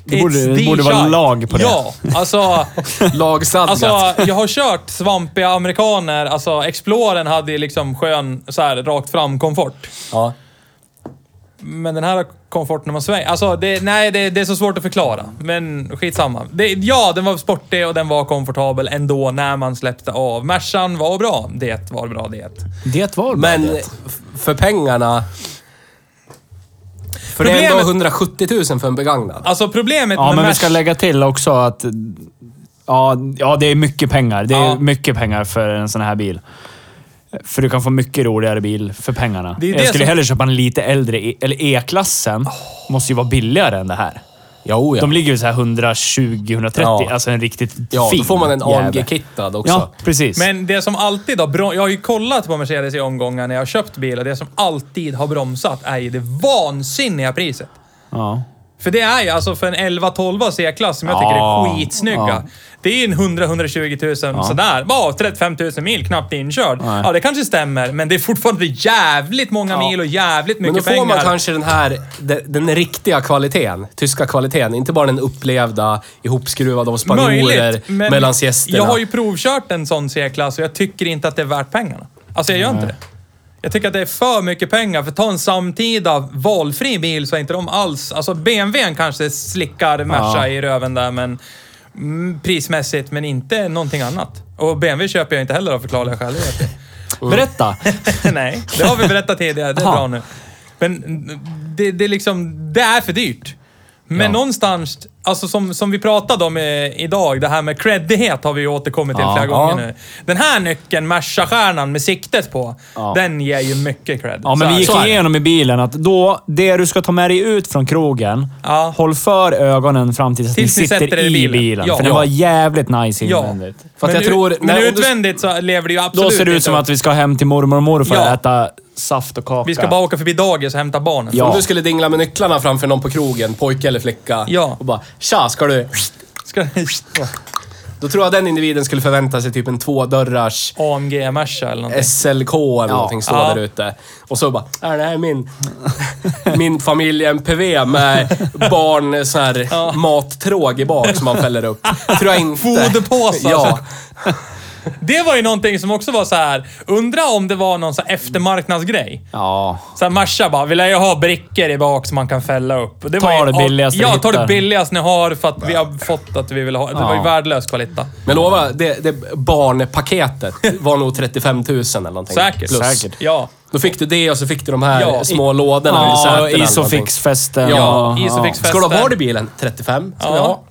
Speaker 1: Det borde-
Speaker 4: It's
Speaker 1: det
Speaker 4: the
Speaker 1: borde vara
Speaker 4: shot.
Speaker 1: lag på det.
Speaker 4: Ja, alltså...
Speaker 3: Lagstadgat.
Speaker 4: Alltså, jag har kört svampiga amerikaner. Alltså, Exploren hade ju liksom skön, så här, rakt fram komfort.
Speaker 3: ja.
Speaker 4: Men den här komforten när man svänger. Alltså, det, nej, det, det är så svårt att förklara. Men skitsamma. Det, ja, den var sportig och den var komfortabel ändå när man släppte av. Mercan var bra. Det var bra det.
Speaker 1: Det var
Speaker 3: Men f- för pengarna... För det är ändå
Speaker 4: Problemet-
Speaker 3: 170 000 för en begagnad.
Speaker 4: Alltså problemet
Speaker 1: Ja,
Speaker 4: med
Speaker 1: men vi
Speaker 4: Merc-
Speaker 1: ska lägga till också att... Ja, ja det är mycket pengar. Det är
Speaker 4: Ja.
Speaker 1: mycket pengar för en sån här bil. För du kan få mycket roligare bil för pengarna.
Speaker 4: Det är
Speaker 1: Jag
Speaker 4: det
Speaker 1: skulle
Speaker 4: som-
Speaker 1: hellre köpa en lite äldre, E- eller E-klassen. Måste ju vara billigare än det här.
Speaker 3: Jo, ja.
Speaker 1: De ligger ju så här 120-130,
Speaker 3: Ja.
Speaker 1: alltså en riktigt
Speaker 3: ja
Speaker 1: fin
Speaker 3: då får man en
Speaker 1: jävel.
Speaker 3: AMG-kittad också.
Speaker 1: Ja, precis.
Speaker 4: Men det som alltid har bromsat... Jag har ju kollat på Mercedes i omgångar när jag har köpt bil och det som alltid har bromsat är ju det vansinniga priset.
Speaker 1: Ja.
Speaker 4: För det är ju alltså för en 11-12 C-klass som jag tycker
Speaker 1: Ja,
Speaker 4: är skitsnygga.
Speaker 1: ja.
Speaker 4: Det är ju en 100-120 000 sådär. Ja, 35 000 mil knappt inkörd.
Speaker 1: Nej.
Speaker 4: Ja, det kanske stämmer, men det är fortfarande jävligt många mil och jävligt
Speaker 3: Men då
Speaker 4: mycket
Speaker 3: får man
Speaker 4: pengar.
Speaker 3: kanske den här, de- den riktiga kvaliteten, tyska kvaliteten. Inte bara den upplevda, ihopskruvad av spanjorer,
Speaker 4: Möjligt, men
Speaker 3: mellan gästerna.
Speaker 4: jag har ju provkört en sån C-klass och jag tycker inte att det är värt pengarna. Alltså jag gör inte det. Jag tycker att det är för mycket pengar, för ta en samtida valfri bil så är inte de alls... Alltså BMWn kanske slickar Merca i röven där, men mm, prismässigt, men inte någonting annat. Och BMW köper jag inte heller av förklarliga skäl. det vet
Speaker 1: Berätta!
Speaker 4: jag. Nej, det har vi berättat tidigare. Det är
Speaker 1: Aha.
Speaker 4: bra nu. Men mm, det, det, är liksom, det är för dyrt. Men någonstans, alltså som, som vi pratade om eh, idag, det här med creddighet har vi ju återkommit till
Speaker 1: Ja.
Speaker 4: flera gånger
Speaker 1: Ja.
Speaker 4: nu. Den här nyckeln, Merca-stjärnan med siktet på, den ger ju mycket cred.
Speaker 1: Ja, men
Speaker 4: Så
Speaker 1: vi
Speaker 4: här.
Speaker 1: gick
Speaker 4: Så är det.
Speaker 1: igenom i bilen att då, det du ska ta med dig ut från krogen,
Speaker 4: Ja.
Speaker 1: håll för ögonen fram tills,
Speaker 4: Tills
Speaker 1: ni
Speaker 4: ni
Speaker 1: sitter
Speaker 4: sätter er
Speaker 1: i
Speaker 4: i
Speaker 1: bilen.
Speaker 4: bilen. Ja.
Speaker 1: För det
Speaker 4: Ja.
Speaker 1: var jävligt nice
Speaker 4: Ja.
Speaker 1: invändigt.
Speaker 3: För att
Speaker 4: men
Speaker 3: jag tror-
Speaker 4: men
Speaker 3: nej, om du-
Speaker 4: utvändigt så lever det ju absolut
Speaker 1: Då ser det ut
Speaker 4: inte
Speaker 1: som
Speaker 4: upp.
Speaker 1: att vi ska hem till mormor och morfar
Speaker 4: Ja.
Speaker 1: och äta saft och kaka.
Speaker 4: Vi ska bara åka förbi dagis och hämta barnen.
Speaker 1: Ja.
Speaker 3: Om du skulle dingla med nycklarna framför någon på krogen, pojke eller flicka,
Speaker 4: Ja.
Speaker 3: och bara “Tja, ska du?”
Speaker 4: Ska
Speaker 3: Då tror jag den individen skulle förvänta sig typ en tvådörrars
Speaker 4: AMG Merca eller någonting.
Speaker 3: SLK eller någonting stå
Speaker 4: Ja.
Speaker 3: där ute. Och så bara, är det här är min, min familj MPV med barn sån här mattråg i bak som man fäller upp. Tror jag inte.
Speaker 4: Foderpåsar.
Speaker 3: Ja.
Speaker 4: Det var ju någonting som också var så här. undra om det var någon så här eftermarknadsgrej.
Speaker 1: Ja.
Speaker 4: Sen Merca bara, vill jag ju ha brickor i bak som man kan fälla upp. Och Det
Speaker 1: Ta
Speaker 4: var ju,
Speaker 1: det billigaste
Speaker 4: Ja,
Speaker 1: ni
Speaker 4: ta det
Speaker 1: hittar.
Speaker 4: billigaste ni har för att vi har fått att vi vill ha. Det var ju
Speaker 1: Ja.
Speaker 4: värdelös kvalitet.
Speaker 3: Men lova, det, det barnpaketet var nog 35 000 eller någonting.
Speaker 4: Säkert.
Speaker 3: Plus.
Speaker 1: Säkert.
Speaker 4: Ja.
Speaker 3: Då fick du det och så fick du de här
Speaker 4: Ja.
Speaker 3: små lådorna vid
Speaker 1: Ja,
Speaker 3: sätena eller någonting.
Speaker 1: Isofix-festen.
Speaker 3: Ja,
Speaker 1: och-
Speaker 4: Isofix-
Speaker 3: Ska du ha kvar i bilen? 35? Ska vi ha?
Speaker 4: Ja.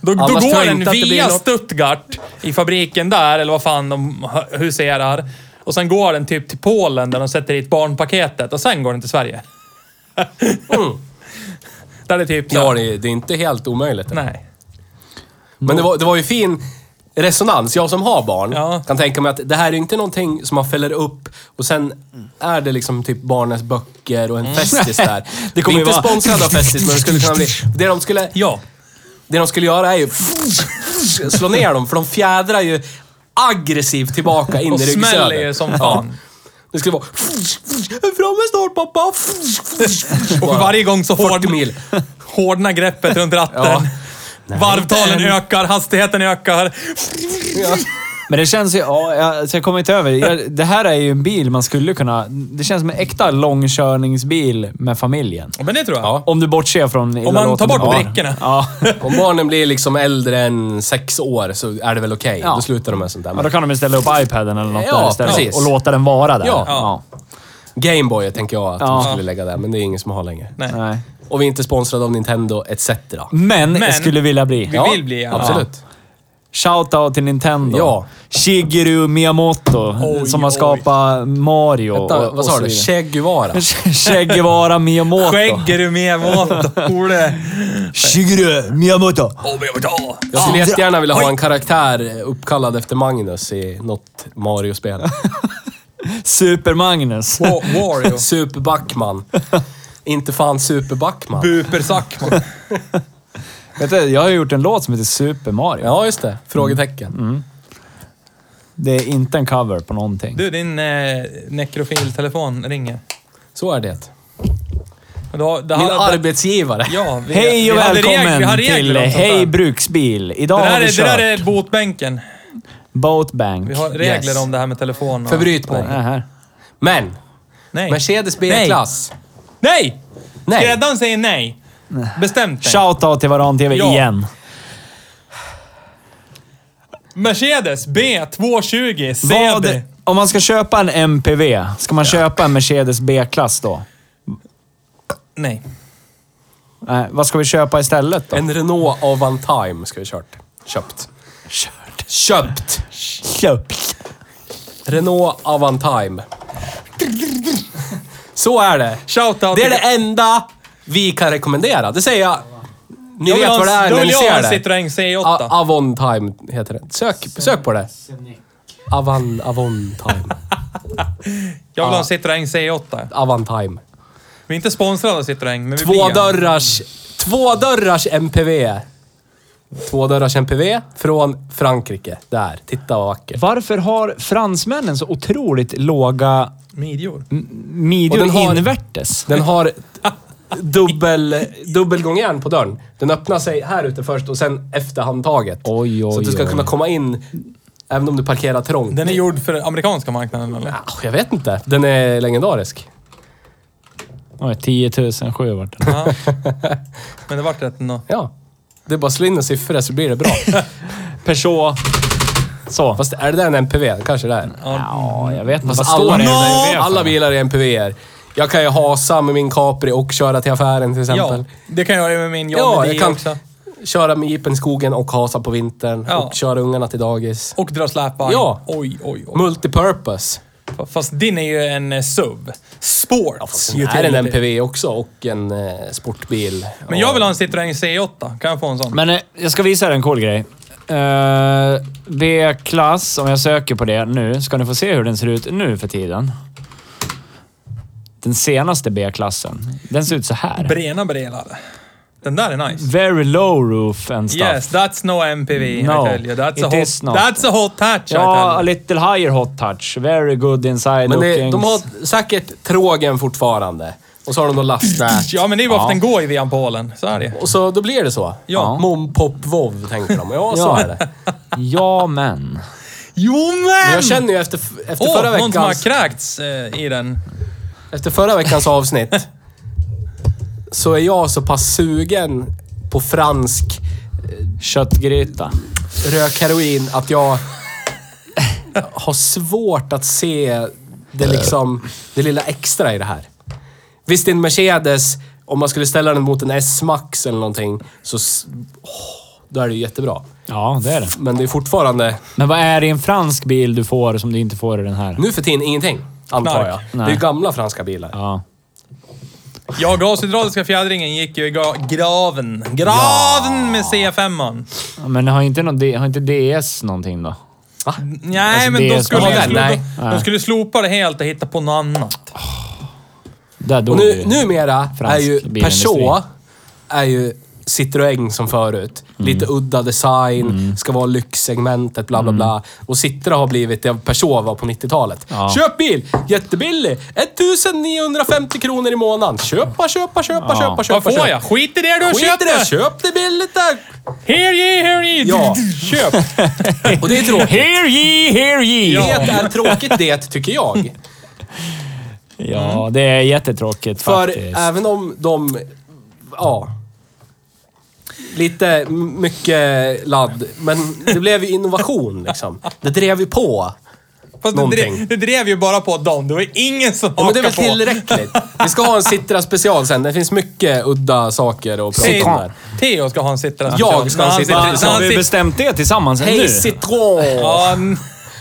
Speaker 4: Då, då
Speaker 3: Annars tror
Speaker 4: går
Speaker 3: jag
Speaker 4: den
Speaker 3: inte att det blir
Speaker 4: via
Speaker 3: något.
Speaker 4: Stuttgart i fabriken där, eller vad fan de hu- huserar. Och sen går den typ till Polen där de sätter dit barnpaketet och sen går den till Sverige.
Speaker 3: Mm.
Speaker 4: där det typ... så här-
Speaker 3: Ja, det, det är inte helt omöjligt.
Speaker 4: Nej.
Speaker 3: Men det var, det var ju fin... resonans. Jag som har barn
Speaker 4: Ja.
Speaker 3: kan tänka mig att det här är ju inte någonting som man fäller upp och sen är det liksom typ barnens böcker och en festis där.
Speaker 1: Det
Speaker 3: det
Speaker 1: kommer ju
Speaker 3: kommer är inte
Speaker 1: vara-
Speaker 3: sponsrade av festis, men det skulle kunna bli... Det de skulle,
Speaker 4: Ja.
Speaker 3: det de skulle göra är ju slå ner dem, för de fjädrar ju aggressivt tillbaka in
Speaker 4: Och
Speaker 3: i
Speaker 4: smäller
Speaker 3: ryggsödet.
Speaker 4: ju som fan.
Speaker 3: Det skulle vara... Framme snart pappa!
Speaker 4: Och för varje gång så hård,
Speaker 3: 40 mil.
Speaker 4: hårdnar greppet runt ratten. Varvtalen ökar, hastigheten ökar.
Speaker 1: Men det känns ju... Ja, jag, alltså jag kommer inte över det. jag, det. här är ju en bil man skulle kunna... Det känns som en äkta långkörningsbil med familjen.
Speaker 4: Men det tror jag.
Speaker 3: Ja.
Speaker 1: Om du bortser från
Speaker 4: Om man tar
Speaker 1: illalåtande
Speaker 4: bort
Speaker 1: barn.
Speaker 4: brickorna.
Speaker 1: Ja.
Speaker 3: Om barnen blir liksom äldre än sex år så är det väl okej.
Speaker 1: Ja.
Speaker 3: Då slutar de med sånt där.
Speaker 1: ja, då kan de ju ställa upp iPaden eller något
Speaker 3: Ja,
Speaker 1: där istället
Speaker 3: precis.
Speaker 1: och låta den vara där.
Speaker 3: Ja.
Speaker 1: ja.
Speaker 3: Gameboy tänker jag att
Speaker 1: Ja.
Speaker 3: de skulle lägga där, men det är ingen som har längre.
Speaker 4: Nej.
Speaker 1: Nej.
Speaker 3: Och vi är inte sponsrade av Nintendo etc.
Speaker 1: Men,
Speaker 4: Men-
Speaker 1: jag skulle vilja bli.
Speaker 4: Vi vill bli ja.
Speaker 3: Absolut.
Speaker 1: Shoutout till Nintendo.
Speaker 3: Ja.
Speaker 1: Shigeru Miyamoto
Speaker 4: Oj,
Speaker 1: som har
Speaker 4: oj.
Speaker 1: skapat Mario
Speaker 3: Vänta,
Speaker 1: och,
Speaker 3: vad sa
Speaker 1: och
Speaker 3: du?
Speaker 1: så vidare.
Speaker 3: Che Guevara?
Speaker 1: Che Guevara Miyamoto.
Speaker 4: Skägger du med våt? Ole.
Speaker 1: Shigeru Miyamoto.
Speaker 3: Jag skulle jättegärna vilja ha en karaktär uppkallad efter Magnus i något Mario-spel.
Speaker 1: Super Magnus.
Speaker 4: Wa- Wario.
Speaker 3: Super Backman. Inte fan Super Backman.
Speaker 4: Bupersack. man.
Speaker 1: Vet du, jag har gjort en låt som heter Super Mario.
Speaker 3: Ja, just det. Frågetecken.
Speaker 1: Mm. Det är inte en cover på någonting.
Speaker 4: Du, din eh, nekrofiltelefon ringer.
Speaker 3: Så är det.
Speaker 4: Och då- det
Speaker 3: Min
Speaker 4: hade-
Speaker 3: arbetsgivare.
Speaker 4: Ja, vi,
Speaker 1: Hej och
Speaker 4: vi hade
Speaker 1: välkommen
Speaker 4: reg- vi hade regler
Speaker 1: till
Speaker 4: om sånt där.
Speaker 1: Hej Bruksbil. Idag
Speaker 4: Det
Speaker 1: har
Speaker 4: där,
Speaker 1: vi
Speaker 4: är, det
Speaker 1: kört
Speaker 4: där är båtbänken.
Speaker 1: Boatbank.
Speaker 4: Vi har regler
Speaker 3: Yes.
Speaker 4: om det här med telefon. och-
Speaker 3: Förbryt mig.
Speaker 1: Ja, här.
Speaker 3: Men!
Speaker 4: Nej.
Speaker 3: Mercedes B-klass.
Speaker 4: Nej!
Speaker 3: Nej!
Speaker 4: Skräddaren säger nej. Bestämt nej.
Speaker 1: Shoutout till Varan TV
Speaker 4: Ja.
Speaker 1: igen.
Speaker 4: Mercedes B220
Speaker 1: Vad,
Speaker 4: CD.
Speaker 1: om man ska köpa en MPV, ska man köpa en Mercedes B-klass då?
Speaker 4: Nej.
Speaker 1: Nej, vad ska vi köpa istället då?
Speaker 3: En Renault Avantime ska vi kört. Köpt.
Speaker 1: Kört.
Speaker 3: Köpt!
Speaker 1: Köpt.
Speaker 3: Renault Avantime. Så är det.
Speaker 4: Shoutout
Speaker 3: Det är
Speaker 4: till-
Speaker 3: det enda vi kan rekommendera. Det säger jag. Ni
Speaker 4: Jag vill
Speaker 3: vet
Speaker 4: ha
Speaker 3: vad det
Speaker 4: en-
Speaker 3: är
Speaker 4: då
Speaker 3: när ni
Speaker 4: vill jag ha en
Speaker 3: ser det. Ah,
Speaker 4: Citroën C8.
Speaker 3: A- Avantime heter det. Sök, sök på det. Avan, Avantime.
Speaker 4: jag vill ha en Citroën C8.
Speaker 3: Avantime.
Speaker 4: Vi är inte sponsrade av Citroën, men vi blir
Speaker 3: Två
Speaker 4: en.
Speaker 3: dörrars, två dörrars MPV. Två dörrars MPV från Frankrike. Där, titta vad vackert.
Speaker 1: Varför har fransmännen så otroligt låga
Speaker 4: Midjor.
Speaker 1: midjor
Speaker 3: Och den har-
Speaker 1: invärtes?
Speaker 3: Den har dubbel, dubbelgångjärn på dörren. Den öppnar sig här ute först och sen efter handtaget.
Speaker 1: Oj, oj,
Speaker 3: så att du ska
Speaker 1: oj.
Speaker 3: kunna komma in även om du parkerar trångt.
Speaker 4: Den är gjord för den amerikanska marknaden, eller?
Speaker 3: Ah, Jag vet inte. Den är legendarisk.
Speaker 1: Oj, 10 007 vart den.
Speaker 4: Men det vart rätt ändå.
Speaker 3: Ja. Det är bara att slå in en siffra så blir det bra.
Speaker 1: Peugeot. Så.
Speaker 3: Fast är det där en MPV? Kanske det är.
Speaker 1: Ja, jag vet inte. Vad
Speaker 3: Fast
Speaker 1: står
Speaker 3: alla,
Speaker 1: det i MPV
Speaker 3: bilar,
Speaker 1: för?
Speaker 3: alla bilar är MPVer. Jag kan ju hasa med min Capri och köra till affären till exempel.
Speaker 4: Ja, det kan jag göra med min Johnny
Speaker 3: Ja,
Speaker 4: D
Speaker 3: jag kan
Speaker 4: också.
Speaker 3: köra med jeepen i skogen och hasa på vintern.
Speaker 4: Ja.
Speaker 3: Och köra ungarna till dagis.
Speaker 4: Och dra släpvagn.
Speaker 3: Ja.
Speaker 4: Oj, oj, oj.
Speaker 3: Multipurpose.
Speaker 4: Fast din är ju en eh, SUV. Sports.
Speaker 3: Det är en
Speaker 4: utility.
Speaker 3: MPV också och en eh, sportbil.
Speaker 4: Men jag vill ha en Citroën C8. Kan jag få en sån?
Speaker 1: Men eh, jag ska visa er en cool grej. Eh, B-klass, om jag söker på det nu, ska ni få se hur den ser ut nu för tiden. Den senaste B-klassen. Den ser ut så här.
Speaker 4: Brena Brelar. Den där är nice.
Speaker 1: Very low roof and stuff.
Speaker 4: Yes, that's no MPV,
Speaker 1: No,
Speaker 4: I tell you. That's
Speaker 1: it
Speaker 4: a
Speaker 1: is
Speaker 4: hot,
Speaker 1: not.
Speaker 4: that's a hot hatch, I
Speaker 1: ja, a
Speaker 4: tell you.
Speaker 1: little higher hot touch. Very good inside
Speaker 3: Men det,
Speaker 1: lookings.
Speaker 3: de har säkert trågen fortfarande. Och så har de då lastnät.
Speaker 4: Ja, men det är ju varför
Speaker 1: Ja.
Speaker 4: den går i via Polen. Så är det ju.
Speaker 3: Och så då blir det så.
Speaker 4: Ja.
Speaker 3: Mom, pop, vov, tänker de. Ja, så
Speaker 1: Ja.
Speaker 3: är det.
Speaker 1: Ja, men.
Speaker 4: Jo,
Speaker 3: Men
Speaker 4: men!
Speaker 3: jag känner ju efter, efter,
Speaker 4: Åh,
Speaker 3: förra
Speaker 4: någon som har
Speaker 3: veckans,
Speaker 4: kräkts eh, i den.
Speaker 3: efter förra veckans avsnitt så är jag så pass sugen på fransk
Speaker 1: Köttgryta.
Speaker 3: rök heroin att jag har svårt att se
Speaker 1: Eh.
Speaker 3: det, liksom, det lilla extra i det här. Visst, en Mercedes, om man skulle ställa den mot en S-Max eller någonting, så... s- åh, då är det ju jättebra.
Speaker 1: Ja, det är det.
Speaker 3: Men det är fortfarande,
Speaker 1: Men vad är det i en fransk bil du får som du inte får i den här?
Speaker 3: nu för tiden, ingenting. Antar
Speaker 4: Knark.
Speaker 3: jag. Det är
Speaker 1: Nej.
Speaker 3: ju gamla franska bilar.
Speaker 1: Ja.
Speaker 4: Ja, gashydrauliska fjädringen gick ju i gra- graven. Graven med C5.
Speaker 1: Ja, Men har inte, någon, D- har inte DS någonting då?
Speaker 4: Nej,
Speaker 1: Alltså,
Speaker 4: men
Speaker 1: det
Speaker 4: de
Speaker 1: är
Speaker 4: skulle,
Speaker 1: som-
Speaker 4: ju
Speaker 3: Ja,
Speaker 4: slo-
Speaker 3: nej.
Speaker 4: de, de skulle slopa det helt och hitta på något annat.
Speaker 1: Där dog
Speaker 3: Och
Speaker 1: ju.
Speaker 3: nu, numera
Speaker 1: Fransk
Speaker 3: är ju
Speaker 1: bilindustri.
Speaker 3: Peugeot är ju Citroën som förut. Lite udda design, ska vara lyxsegmentet, bla bla bla. Och Citroën har blivit det Peugeot var på 90-talet.
Speaker 1: Ja.
Speaker 3: Köp bil! Jättebillig! 1950 kronor i månaden. Köpa, köpa, köpa,
Speaker 1: Ja.
Speaker 3: köpa, köpa.
Speaker 4: Vad får
Speaker 3: köpa.
Speaker 4: jag? Skit i det du har
Speaker 3: Skit i det!
Speaker 4: köpt!
Speaker 3: Köp det billigt där!
Speaker 4: Here ye, here ye!
Speaker 3: Ja.
Speaker 4: Köp!
Speaker 3: Och det är tråkigt.
Speaker 1: Hear ye, hear ye!
Speaker 3: Det
Speaker 1: Ja,
Speaker 3: är tråkigt det, tycker jag.
Speaker 1: det är jättetråkigt
Speaker 3: För
Speaker 1: faktiskt.
Speaker 3: även om de... Ja. Lite m- mycket ladd, men det blev ju innovation liksom. Det drev ju på.
Speaker 4: Fast det
Speaker 3: Någonting.
Speaker 4: drev, det drev ju bara på dem. Det var ingen som
Speaker 3: Ja, men det är
Speaker 4: hakade
Speaker 3: väl
Speaker 4: på.
Speaker 3: tillräckligt. Vi ska ha en Citra special sen. Det finns mycket udda saker att prata om
Speaker 4: Theo,
Speaker 3: där.
Speaker 4: Theo ska ha en sittare.
Speaker 3: Jag ska ha en sittare.
Speaker 4: sitter- när
Speaker 1: har
Speaker 4: han
Speaker 1: vi
Speaker 4: sitter-
Speaker 1: bestämt det tillsammans nu?
Speaker 3: Hej Citron!
Speaker 4: Ja, n-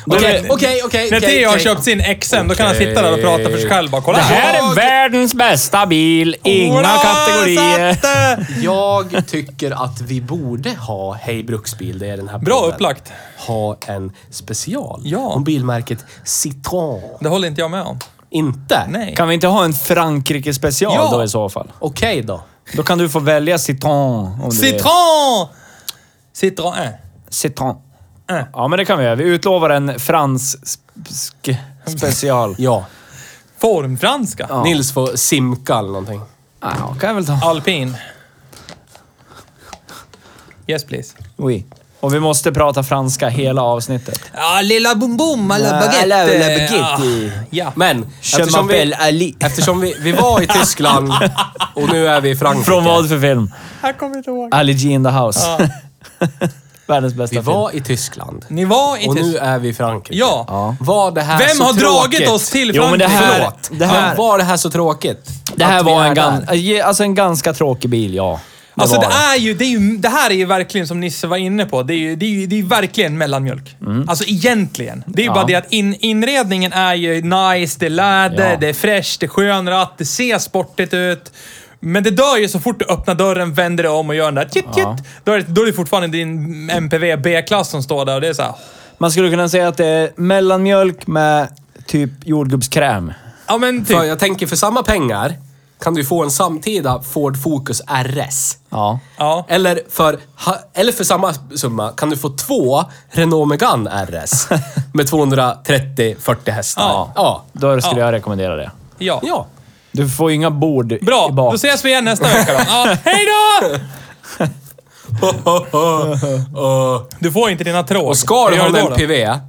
Speaker 3: Okej,
Speaker 4: När-
Speaker 3: okej, okej.
Speaker 4: När
Speaker 3: okej,
Speaker 4: Theo har
Speaker 3: okej.
Speaker 4: köpt sin XM, då kan han
Speaker 3: Okej.
Speaker 4: sitta där och prata för sig själv. Bara, kolla
Speaker 1: Det här är
Speaker 3: Jag-
Speaker 1: världens bästa bil. Inga
Speaker 4: Hurra,
Speaker 1: kategorier.
Speaker 4: satte!
Speaker 3: Jag tycker att vi borde ha Hej Bruksbil, det är den här
Speaker 4: Bra
Speaker 3: podden.
Speaker 4: upplagt.
Speaker 3: Ha en special
Speaker 4: Ja.
Speaker 3: om bilmärket Citron.
Speaker 4: Det håller inte jag med om.
Speaker 3: Inte?
Speaker 4: Nej.
Speaker 1: Kan vi inte ha en Frankrike-special
Speaker 4: Ja.
Speaker 1: då i så fall?
Speaker 3: Okej då.
Speaker 1: Då kan du få välja Citroën. om du vill.
Speaker 4: Citron! eh, Citroën.
Speaker 1: Citroën. Ja, men det kan vi göra. Vi utlovar en fransk special.
Speaker 3: Ja.
Speaker 4: Formfranska.
Speaker 3: Nils får simka eller någonting.
Speaker 1: Ja, kan jag väl ta.
Speaker 4: Alpin. Yes please.
Speaker 1: Oui. Och vi måste prata franska hela avsnittet.
Speaker 4: Ja, lilla bom bom, alla Ja.
Speaker 3: Men eftersom, vi,
Speaker 1: Ali.
Speaker 3: eftersom vi, vi var i Tyskland och nu är vi i Frankrike.
Speaker 1: Från vad för film?
Speaker 4: Här kommer jag inte ihåg.
Speaker 1: Ali G in the house. Världens bästa
Speaker 3: Vi
Speaker 1: film.
Speaker 3: var i Tyskland.
Speaker 4: Ni var i
Speaker 3: Och
Speaker 4: Tyskland.
Speaker 3: nu är vi i Frankrike.
Speaker 4: Ja.
Speaker 3: Var det här
Speaker 4: Vem
Speaker 3: så
Speaker 4: har
Speaker 3: tråkigt?
Speaker 4: dragit oss till
Speaker 1: Jo, men det
Speaker 4: Frankrike?
Speaker 1: här-
Speaker 3: Förlåt.
Speaker 1: det här-
Speaker 3: Men var det här så tråkigt?
Speaker 1: Det här
Speaker 3: Att vi
Speaker 1: var en,
Speaker 3: är
Speaker 1: gan,
Speaker 3: där?
Speaker 1: alltså en ganska tråkig bil, ja. Det
Speaker 4: Alltså
Speaker 1: var
Speaker 4: det, är ju, det är ju, det här är ju verkligen som Nisse var inne på. Det är ju, det är ju, det är ju verkligen mellanmjölk. Alltså egentligen. Det är ju
Speaker 1: Mm. Ja.
Speaker 4: bara det att in, inredningen är ju nice, det är läder,
Speaker 1: Ja.
Speaker 4: det är fräscht, det är skönratt, det ser sportigt ut. Men det dör ju så fort du öppnar dörren, vänder dig om och gör den där tjitt,
Speaker 1: Ja.
Speaker 4: tjitt. Då, är det, då är det fortfarande din MPV B-klass som står där och det är så här.
Speaker 1: Man skulle kunna säga att det är mellanmjölk med typ jordgubbskräm.
Speaker 4: Ja men typ.
Speaker 3: För jag tänker för samma pengar kan du få en samtida Ford Focus RS.
Speaker 1: Ja.
Speaker 4: Ja.
Speaker 3: Eller för, ha- eller för samma summa kan du få två Renault Megane RS med 230-40 hästar.
Speaker 4: Ja.
Speaker 3: ja.
Speaker 1: Då skulle jag rekommendera det.
Speaker 4: Ja.
Speaker 3: Ja.
Speaker 1: Du får ju inga bord i-
Speaker 4: Bra,
Speaker 1: i bak.
Speaker 4: då ses vi igen nästa vecka då. Ja, hej då! Du får inte dina tråg.
Speaker 3: Och ska du
Speaker 4: Hur gör
Speaker 3: ha
Speaker 4: då
Speaker 3: en
Speaker 4: då?
Speaker 3: PV,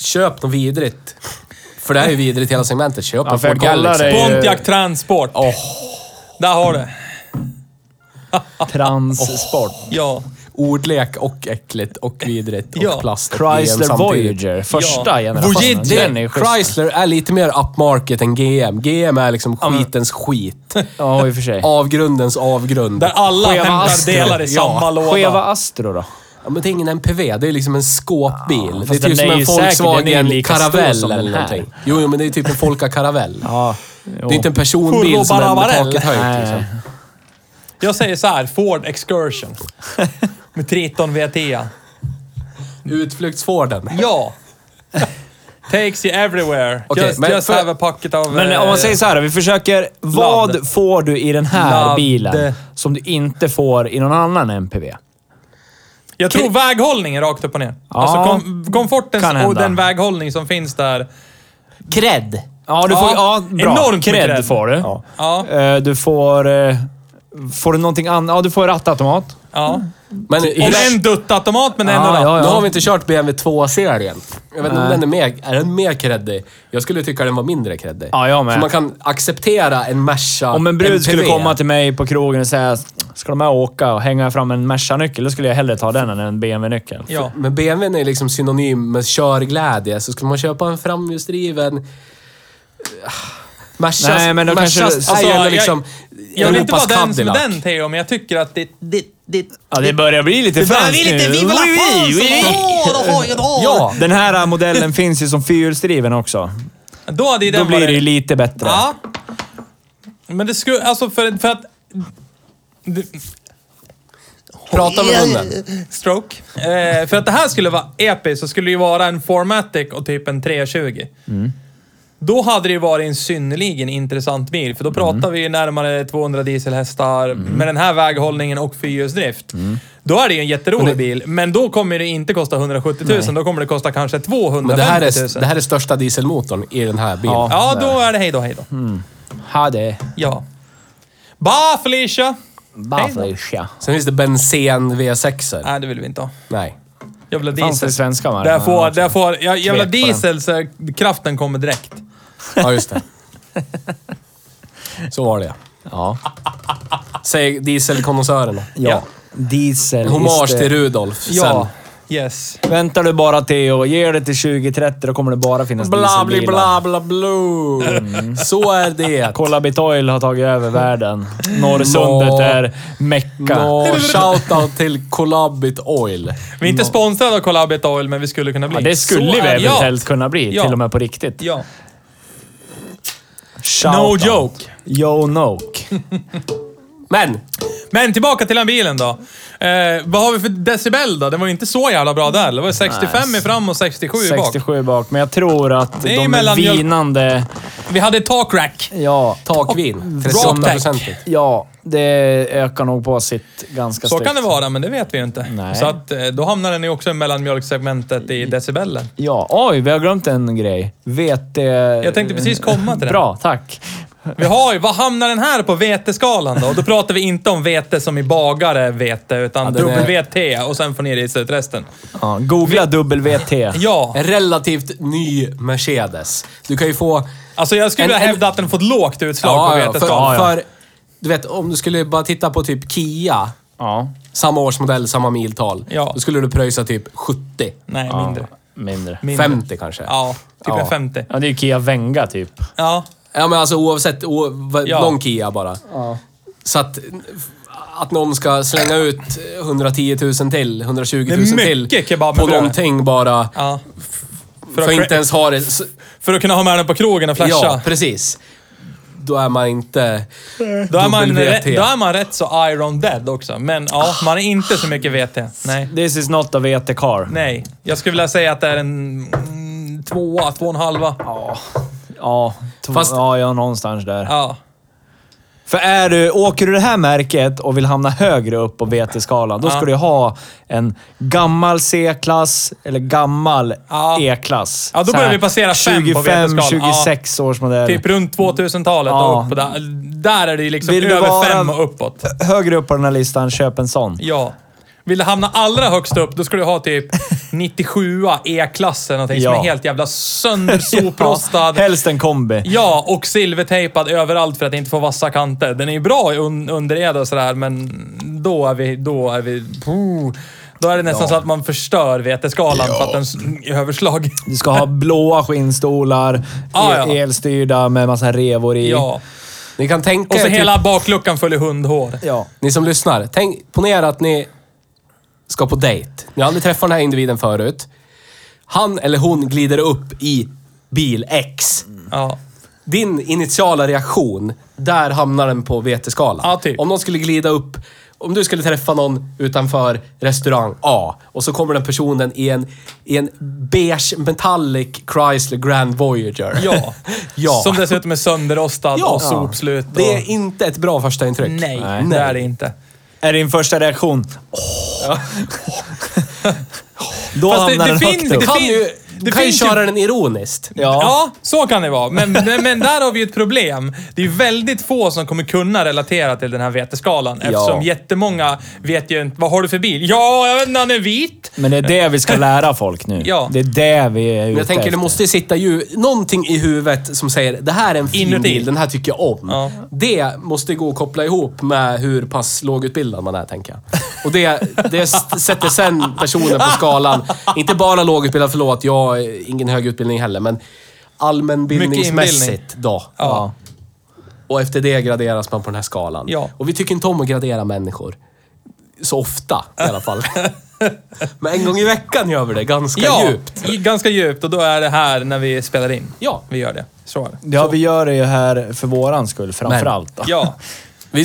Speaker 3: köp något vidrigt. För det här är ju vidrigt hela segmentet. Köp
Speaker 1: Ja,
Speaker 3: en
Speaker 1: för
Speaker 3: Ford
Speaker 1: jag kollar
Speaker 3: Galaxy.
Speaker 1: dig.
Speaker 4: Pontiac Transport. Där har du.
Speaker 1: Transsport.
Speaker 4: Ja.
Speaker 3: Ordlek och äckligt och vidrigt och
Speaker 4: Ja.
Speaker 3: plast. och GM
Speaker 1: Chrysler
Speaker 3: samtidigt.
Speaker 1: Voyager. Första
Speaker 4: Ja.
Speaker 1: generationen.
Speaker 4: Voyager.
Speaker 1: Den är schysst.
Speaker 3: Chrysler är lite mer upmarket än GM. GM är liksom skitens skit.
Speaker 1: Ja, i och för sig.
Speaker 3: Avgrundens avgrund.
Speaker 4: Där alla
Speaker 1: Cheva
Speaker 4: hämtar
Speaker 1: Astro.
Speaker 4: delar i
Speaker 3: Ja.
Speaker 4: samma låda.
Speaker 1: Cheva Astro då?
Speaker 3: Ja, men det är ingen MPV, det är liksom en skåpbil. det är
Speaker 1: den
Speaker 3: typ som
Speaker 1: är ju
Speaker 3: en
Speaker 1: säkert- den är ju
Speaker 3: Volkswagen
Speaker 1: lika stor
Speaker 3: Caravelle
Speaker 1: som
Speaker 3: eller
Speaker 1: den här.
Speaker 3: någonting. Jo, jo, men det är typ en Folka Caravelle.
Speaker 1: Ja.
Speaker 3: Det är inte en personbil
Speaker 4: Furbo
Speaker 3: som är med
Speaker 4: Baravarell.
Speaker 3: taket höjt. Liksom.
Speaker 4: Jag säger så här, Ford Excursion. Med 13 VT.
Speaker 3: Utflyktsforden.
Speaker 4: Ja. Takes you everywhere.
Speaker 3: Okej,
Speaker 4: just
Speaker 3: men
Speaker 4: just
Speaker 3: för-
Speaker 4: have a pocket of... eh,
Speaker 1: Men om man säger så här, vi försöker... Vad får du i den här
Speaker 4: Ladd.
Speaker 1: bilen som du inte får i någon annan MPV?
Speaker 4: jag tror väghållningen rakt upp och ner.
Speaker 1: Ja,
Speaker 4: alltså kom, komfortens
Speaker 1: kan
Speaker 4: och
Speaker 1: hända.
Speaker 4: den väghållning som finns där.
Speaker 3: Cred.
Speaker 1: Ja, du
Speaker 4: Ja,
Speaker 1: får... Ja, bra.
Speaker 4: enormt mycket cred.
Speaker 1: Cred får du.
Speaker 4: Ja.
Speaker 1: Eh, Du får... eh, Får du någonting annat? Ja, du får rattautomat.
Speaker 4: Ja.
Speaker 3: Men
Speaker 4: Och
Speaker 3: hur-
Speaker 4: en duttautomat men ändå.
Speaker 1: Mm. Ja,
Speaker 4: då.
Speaker 1: ja,
Speaker 3: nu har vi inte kört BMW 2-serien. Jag vet inte om den är mer, är den mer creddig? Jag skulle tycka den var mindre creddig.
Speaker 1: Ja, jag med.
Speaker 3: För man kan acceptera en Merca
Speaker 1: Om en brud
Speaker 3: MPV.
Speaker 1: skulle komma till mig på krogen och säga “Ska de här åka?” och hänga fram en Merca-nyckel, då skulle jag hellre ta den än en BMW-nyckel.
Speaker 4: Ja.
Speaker 3: Men BMWn är liksom synonym med körglädje, så skulle man köpa en framhjulsdriven... eh, Mercas...
Speaker 1: Nej, men då
Speaker 3: Mercas
Speaker 1: kanske-
Speaker 3: är
Speaker 1: alltså,
Speaker 3: ju ändå
Speaker 4: jag-
Speaker 3: liksom
Speaker 4: Jag vill inte vara
Speaker 3: Europas
Speaker 4: den som är
Speaker 3: Cadillac.
Speaker 4: den Theo, men jag tycker att det... det, det
Speaker 1: Ja, det börjar bli lite franskt nu. Oui, oui, oui.
Speaker 3: Ja!
Speaker 1: Den här modellen finns ju som fyrhjulsdriven också.
Speaker 4: Då hade ju den
Speaker 1: Då blir
Speaker 4: varit-
Speaker 1: det ju lite bättre.
Speaker 4: Ja. Men det skulle, alltså för, för att... Det,
Speaker 3: Prata med hunden.
Speaker 4: Stroke. Eh, för att det här skulle vara episkt så skulle det ju vara en Formatic och typ en 320.
Speaker 3: Mm.
Speaker 4: Då hade det ju varit en synnerligen intressant bil,
Speaker 3: Mm.
Speaker 4: för då pratar vi ju närmare 200 dieselhästar med den här väghållningen och fyrhjulsdrift.
Speaker 3: Mm.
Speaker 4: Då är det ju en jätterolig bil, men då kommer det inte kosta 170 000. Då kommer det kosta kanske 250 000.
Speaker 3: Men det här, är, det här är största dieselmotorn i den här bilen.
Speaker 1: Ja.
Speaker 4: Ja, då är det hej då, hej då.
Speaker 1: Ha det.
Speaker 4: Ja. Ba Felicia! Hej då.
Speaker 1: Bafisha.
Speaker 3: Sen finns det bensen V6.
Speaker 4: Nej, det vill vi inte ha.
Speaker 3: Nej.
Speaker 4: Jag vill ha
Speaker 1: Fanns det
Speaker 4: diesel.
Speaker 1: svenska med?
Speaker 4: Där får, där får, jag, jag vill ha
Speaker 1: Smet på
Speaker 4: diesel så kraften kommer direkt.
Speaker 3: Ja, just det. Så var det
Speaker 1: Ja.
Speaker 3: Säger dieselkonnässörerna.
Speaker 1: ja. Diesel.
Speaker 3: Hommage
Speaker 1: just det.
Speaker 3: till Rudolf.
Speaker 4: Ja.
Speaker 3: Sen.
Speaker 4: Yes.
Speaker 1: Väntar du bara Theo, ger det till 2030 då kommer det bara finnas
Speaker 3: Bla, bli,
Speaker 1: dieselbilar.
Speaker 3: bla, bla, blue. Mm. Så är det.
Speaker 1: Kollabit Oil har tagit över världen.
Speaker 4: Mm.
Speaker 1: Norrsundet
Speaker 3: Nå.
Speaker 1: är Mecka.
Speaker 3: Nå, shoutout till Collabit Oil.
Speaker 4: Vi är inte sponsrade av Collabit Oil, men vi skulle kunna bli.
Speaker 1: Ja, det skulle
Speaker 4: Så
Speaker 1: vi
Speaker 4: är det.
Speaker 1: eventuellt kunna bli,
Speaker 4: Ja.
Speaker 1: till och med på riktigt.
Speaker 4: Ja.
Speaker 1: Shout
Speaker 4: No
Speaker 1: out.
Speaker 4: joke.
Speaker 1: Yo Noke.
Speaker 3: Men!
Speaker 4: Men tillbaka till den bilen då. Eh, vad har vi för decibel då? Den var ju inte så jävla bra där. Det var ju 65 i fram och 67 i bak.
Speaker 1: 67 bak. Men jag tror att
Speaker 4: Det är
Speaker 1: de är
Speaker 4: mellanmjölk.
Speaker 1: vinande...
Speaker 4: Vi hade takrack.
Speaker 1: Ja,
Speaker 3: Takvin.
Speaker 4: Rock
Speaker 3: 38
Speaker 4: Tech.
Speaker 3: procentigt.
Speaker 1: ja, det ökar nog på sitt ganska
Speaker 4: Så
Speaker 1: strikt.
Speaker 4: kan det vara, men det vet vi ju inte.
Speaker 1: Nej.
Speaker 4: Så att, eh, då hamnar den ju också i mellanmjölksegmentet i decibellen.
Speaker 1: Ja, oj, vi har glömt en grej. Vete...
Speaker 4: Jag tänkte precis komma till det.
Speaker 1: Bra, tack.
Speaker 4: Vi har ju, vad hamnar den här på veteskalan då? Och då pratar vi inte om vete som i bagare vete, utan
Speaker 3: den är-
Speaker 4: WT och sen får ni det i resten.
Speaker 1: Ja, googla WT.
Speaker 4: Ja,
Speaker 3: En relativt ny Mercedes. Du kan ju få...
Speaker 4: alltså jag skulle
Speaker 3: En-
Speaker 4: vilja
Speaker 3: en-
Speaker 4: hävda att den fått lågt utslag på
Speaker 3: för,
Speaker 4: veteskalan.
Speaker 3: för, du vet, om du skulle bara titta på typ Kia.
Speaker 1: Ja,
Speaker 3: Samma årsmodell, samma miltal.
Speaker 4: Ja.
Speaker 3: Då skulle du pröjsa typ 70.
Speaker 4: Nej, mindre.
Speaker 1: mindre.
Speaker 4: mindre.
Speaker 3: 50 kanske.
Speaker 4: Ja, typ
Speaker 3: Ja.
Speaker 4: en 50.
Speaker 1: Ja, det är ju Kia Venga typ.
Speaker 4: Ja.
Speaker 3: Ja, men alltså oavsett. O, v,
Speaker 4: Ja.
Speaker 3: Någon Kia bara. Så att, att någon ska slänga ut 110 000 till, 120 000
Speaker 4: Det är
Speaker 3: till
Speaker 4: mycket kebab med
Speaker 3: på
Speaker 4: bröd.
Speaker 3: någonting bara.
Speaker 4: ja.
Speaker 3: För,
Speaker 4: att
Speaker 3: att
Speaker 4: cra-
Speaker 3: inte ens ha det... s-
Speaker 4: För att kunna ha med den på krogen och flasha.
Speaker 3: Ja, precis. Då är man inte...
Speaker 4: då, är man,
Speaker 3: WT.
Speaker 4: rä- då är man rätt så Iron Dead också. Men ja, man är inte så mycket VT. Nej.
Speaker 1: This is not a VT car.
Speaker 4: Nej. Jag skulle vilja säga att det är en mm, tvåa, två och en halva.
Speaker 1: Ja, to-
Speaker 3: Fast-
Speaker 1: ja, ja, någonstans där.
Speaker 4: Ja.
Speaker 1: För är du, åker du det här märket och vill hamna högre upp på VT-skalan, då ska du ju ha en gammal C-klass eller gammal
Speaker 4: Ja.
Speaker 1: E-klass.
Speaker 4: Ja, då
Speaker 1: Så
Speaker 4: börjar
Speaker 1: här
Speaker 4: vi passera fem på
Speaker 1: 25,
Speaker 4: VT-skalan.
Speaker 1: 26 års modell.
Speaker 4: Typ runt 2000-talet
Speaker 1: Ja.
Speaker 4: och upp. Där, där är det ju liksom
Speaker 1: Vill du
Speaker 4: över
Speaker 1: vara-
Speaker 4: fem och uppåt.
Speaker 1: Högre upp på den här listan, köp en sån.
Speaker 4: Ja. Vill du hamna allra högst upp, då ska du ha typ 97 E-klass eller någonting som
Speaker 1: Ja.
Speaker 4: är helt jävla söndersoprostad.
Speaker 1: Helst en kombi.
Speaker 4: Ja, och silvertejpad överallt för att inte få vassa kanter. Den är ju bra i un underreda och sådär, men då är vi... Då är vi... Puh. Då är det nästan så att man förstör veteskalan för att den s- är överslag.
Speaker 1: Du ska ha blåa skinnstolar,
Speaker 4: Ah, ja.
Speaker 1: elstyrda med massa revor i.
Speaker 4: Ja.
Speaker 3: Ni kan tänka
Speaker 4: Och så
Speaker 3: er typ-
Speaker 4: hela bakluckan full i hundhår.
Speaker 1: ja.
Speaker 3: Ni som lyssnar, tänk, ponera att ni ska på dejt. Ni har aldrig träffat den här individen förut. Han eller hon glider upp i bil X.
Speaker 4: Ja.
Speaker 3: Din initiala reaktion, där hamnar den på veteskalan.
Speaker 4: Ja, typ.
Speaker 3: Om någon skulle glida upp, om du skulle träffa någon utanför restaurang A och så kommer den personen i en, i en beige metallic Chrysler Grand Voyager.
Speaker 4: Ja.
Speaker 3: ja.
Speaker 4: Som dessutom är sönderrostad och sopslut. Och...
Speaker 3: Det är inte ett bra första intryck.
Speaker 4: Nej, det är det inte.
Speaker 1: Är din första reaktion? Åh. Då
Speaker 4: Fast det-
Speaker 1: hamnar
Speaker 4: det
Speaker 1: den
Speaker 4: finns-
Speaker 1: högt upp.
Speaker 3: Du kan ju,
Speaker 4: Det
Speaker 3: du kan ju
Speaker 4: finns ju-
Speaker 3: köra den ironiskt.
Speaker 4: Ja. så kan det vara. Men, men, men där har vi ju ett problem. Det är ju väldigt få som kommer kunna relatera till den här veteskalan. Eftersom jättemånga vet ju inte... Vad har du för bil? Ja, jag vet inte. Han är vit.
Speaker 1: Men det är det vi ska lära folk nu.
Speaker 4: Ja.
Speaker 1: Det är det vi är ute
Speaker 3: Men jag tänker
Speaker 1: efter.
Speaker 3: det måste ju sitta ju någonting i huvudet som säger det här är en fin
Speaker 4: Inuti.
Speaker 3: bil, den här tycker jag om.
Speaker 4: Ja.
Speaker 3: Det måste gå att koppla ihop med hur pass lågutbildad man är, tänker jag. Och det, det s- sätter sen personen på skalan. Inte bara lågutbildad, förlåt, jag har ingen hög utbildning heller, men allmänbildningsmässigt då.
Speaker 4: Ja.
Speaker 3: Och efter det graderas man på den här skalan.
Speaker 4: Ja.
Speaker 3: Och vi tycker inte om att gradera människor. Så ofta i alla fall. Men en gång i veckan gör vi det ganska
Speaker 4: Ja,
Speaker 3: djupt.
Speaker 4: i- ganska djupt och då är det här när vi spelar in.
Speaker 3: Ja.
Speaker 4: Vi gör det. Så är det.
Speaker 1: Ja, vi gör det ju här för våran skull framför allt. då.
Speaker 4: Ja.
Speaker 3: Vi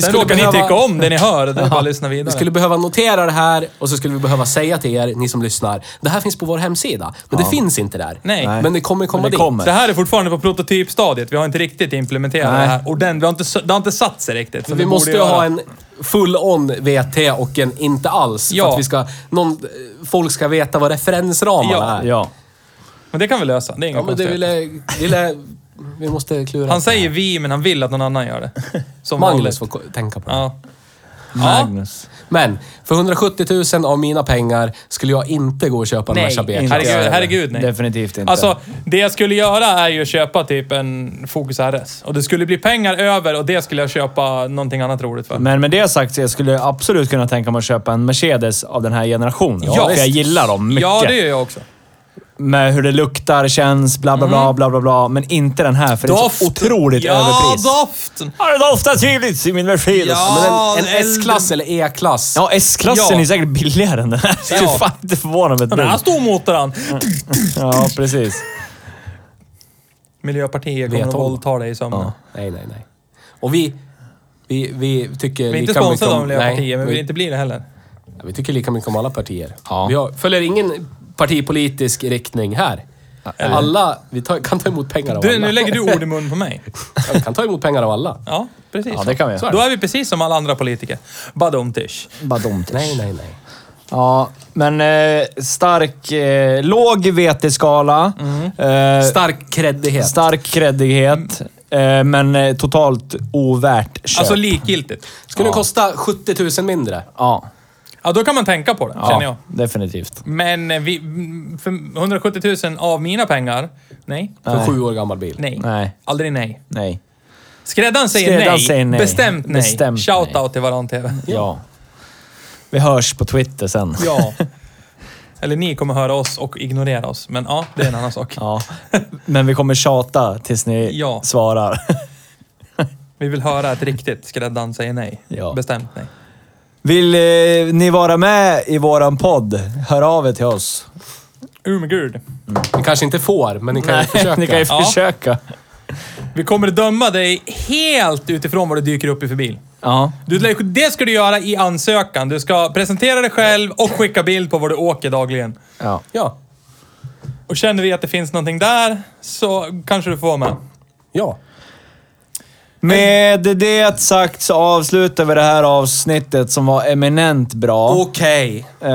Speaker 4: Sen
Speaker 3: skulle,
Speaker 4: råkar
Speaker 3: behöva,
Speaker 4: ni tycka om det ni hör, det är bara att lyssna vidare.
Speaker 3: vi skulle behöva notera det här och så skulle vi behöva säga till er, ni som lyssnar, det här finns på vår hemsida. Men det finns inte där.
Speaker 4: Nej. Nej.
Speaker 3: Men det kommer komma
Speaker 1: Men det
Speaker 3: dit.
Speaker 1: kommer.
Speaker 4: Det här är fortfarande på prototypstadiet. Vi har inte riktigt implementerat
Speaker 1: Nej.
Speaker 4: det här. Och den, vi har inte, s- det har inte satt sig riktigt. som
Speaker 3: Vi
Speaker 4: borde
Speaker 3: måste ju
Speaker 4: göra.
Speaker 3: ha en full-on VT och en inte alls. För
Speaker 4: Ja.
Speaker 3: att vi ska, någon, folk ska veta vad referensramarna
Speaker 4: Ja.
Speaker 3: är.
Speaker 1: Ja.
Speaker 4: Men det kan vi lösa. Det är inga
Speaker 3: Ja, men det
Speaker 4: konstigheter.
Speaker 3: ville, ville... Vi måste klura.
Speaker 4: Han säger vi, men han vill att någon annan gör det. Som
Speaker 3: Magnus
Speaker 4: vanligt.
Speaker 3: får ko- tänka på det.
Speaker 4: Ja.
Speaker 1: Magnus.
Speaker 3: Men, för 170 000 av mina pengar skulle jag inte gå och köpa en
Speaker 4: Nej,
Speaker 3: Merca
Speaker 4: inte.
Speaker 3: B-klass.
Speaker 4: Herregud,
Speaker 1: jag heller.
Speaker 4: herregud, nej.
Speaker 1: Definitivt inte.
Speaker 4: Alltså, det jag skulle göra är ju att köpa typ en Focus RS. Och det skulle bli pengar över och det skulle jag köpa någonting annat roligt för.
Speaker 1: Men med det sagt så jag skulle absolut kunna tänka mig att köpa en Mercedes av den här generationen.
Speaker 4: Ja,
Speaker 1: för
Speaker 4: visst.
Speaker 1: jag gillar dem mycket.
Speaker 4: Ja, det gör jag också.
Speaker 1: Med hur det luktar, känns, bla bla bla, bla bla bla. Men inte den här, för det är så otroligt
Speaker 4: Mm. ja,
Speaker 1: överpris.
Speaker 4: doften!
Speaker 1: Ja, det doftar trevligt i min Mercedes.
Speaker 4: Ja.
Speaker 1: Men den,
Speaker 3: En S-klass eller E-klass.
Speaker 1: ja S-klassen
Speaker 4: Ja.
Speaker 1: är säkert billigare än den här. Ja.
Speaker 4: Ja. alltså-
Speaker 1: är fan inte förvånad med ett
Speaker 4: Den här
Speaker 1: dugg.
Speaker 4: stormotorn!
Speaker 1: Ja, precis.
Speaker 4: Miljöpartiet kommer att
Speaker 3: Vet om.
Speaker 4: våldta dig i sömnen.
Speaker 3: Nej, nej, nej. Och vi... Vi, vi tycker
Speaker 4: Vi är inte
Speaker 3: lika mycket
Speaker 4: sponsrade av
Speaker 3: om-
Speaker 4: Miljöpartiet,
Speaker 3: nej,
Speaker 4: men vi
Speaker 3: vi,
Speaker 4: vill inte bli det heller.
Speaker 3: vi tycker lika mycket om alla partier. Vi har, följer ingen partipolitisk riktning här. Alla... Vi tar, kan ta emot pengar av
Speaker 4: Du,
Speaker 3: alla.
Speaker 4: nu lägger du ord i mun på mig.
Speaker 3: Ja, vi kan ta emot pengar av alla.
Speaker 4: Ja, precis.
Speaker 1: Ja, det kan vi göra. Eh,
Speaker 4: Då är vi precis som alla andra politiker. Badumtish.
Speaker 1: Bara dumt.
Speaker 3: Nej, nej, nej.
Speaker 1: Ja, men eh, stark... Eh, låg VT-skala. Eh,
Speaker 3: Stark kreddighet.
Speaker 1: stark kreddighet. Eh, men eh, totalt ovärt köp.
Speaker 4: Alltså likgiltigt.
Speaker 3: Skulle kosta 70 000 mindre.
Speaker 1: ja,
Speaker 4: Ja, då kan man tänka på det, känner jag.
Speaker 1: ja definitivt.
Speaker 4: Men eh, vi, mm, för 170 000 av mina pengar? Nej.
Speaker 3: För
Speaker 1: Nej.
Speaker 3: sju år gammal bil.
Speaker 4: Nej.
Speaker 1: Nej.
Speaker 4: Aldrig nej.
Speaker 1: Nej.
Speaker 4: Skräddaren säger,
Speaker 1: Skräddaren
Speaker 4: nej.
Speaker 1: säger nej.
Speaker 4: Bestämt nej.
Speaker 1: Bestämt
Speaker 4: Shout
Speaker 1: nej.
Speaker 4: out till Varan TV.
Speaker 1: Ja. Vi hörs på Twitter sen.
Speaker 4: Ja. Eller ni kommer höra oss och ignorera oss. Men ja, det är en annan sak.
Speaker 1: Ja. Men vi kommer tjata tills ni
Speaker 4: Ja.
Speaker 1: svarar.
Speaker 4: Vi vill höra ett riktigt skräddaren säger nej.
Speaker 1: Ja.
Speaker 4: Bestämt nej.
Speaker 1: Vill eh, ni vara med i våran podd? Hör av er till oss.
Speaker 4: Ur med Gud.
Speaker 3: Ni kanske inte får, men ni kan ju försöka.
Speaker 1: ni kan ju
Speaker 4: Ja.
Speaker 1: försöka.
Speaker 4: Vi kommer döma dig helt utifrån vad du dyker upp i för bil.
Speaker 1: Ja.
Speaker 4: Du, det ska du göra i ansökan. Du ska presentera dig själv och skicka bild på var du åker dagligen.
Speaker 1: ja.
Speaker 3: Ja.
Speaker 4: Och känner vi att det finns någonting där så kanske du får vara med.
Speaker 3: Ja.
Speaker 1: Med det sagt så avslutar vi det här avsnittet som var eminent bra.
Speaker 4: Okej.
Speaker 1: Eh,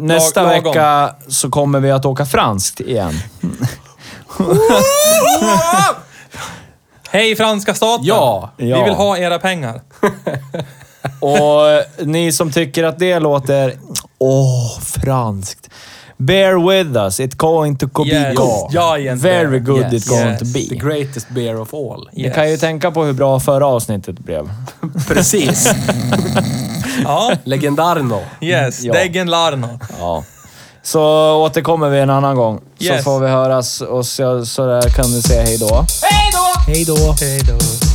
Speaker 1: nästa
Speaker 4: Lag- lagom.
Speaker 1: vecka så kommer vi att åka franskt igen.
Speaker 4: Hej franska staten!
Speaker 3: Ja,
Speaker 4: Vi
Speaker 1: ja.
Speaker 4: vill ha era pengar.
Speaker 1: Och eh, ni som tycker att det låter... Åh, franskt. Bear with us, it going to be
Speaker 4: Yes.
Speaker 1: good.
Speaker 4: Giant
Speaker 1: Very
Speaker 4: bear.
Speaker 1: good
Speaker 3: Yes.
Speaker 1: it going
Speaker 4: Yes.
Speaker 1: to
Speaker 3: The
Speaker 1: be.
Speaker 3: greatest bear of all.
Speaker 1: Ni kan ju tänka på hur bra förra avsnittet blev.
Speaker 3: Precis.
Speaker 4: Ja.
Speaker 3: Legendarno.
Speaker 4: Yes.
Speaker 1: Ja.
Speaker 4: Deggen Larno.
Speaker 1: Ja. Så återkommer vi en annan gång.
Speaker 4: Yes.
Speaker 1: Så får vi höras och så, så där kan du säga hej då.
Speaker 4: Hej då!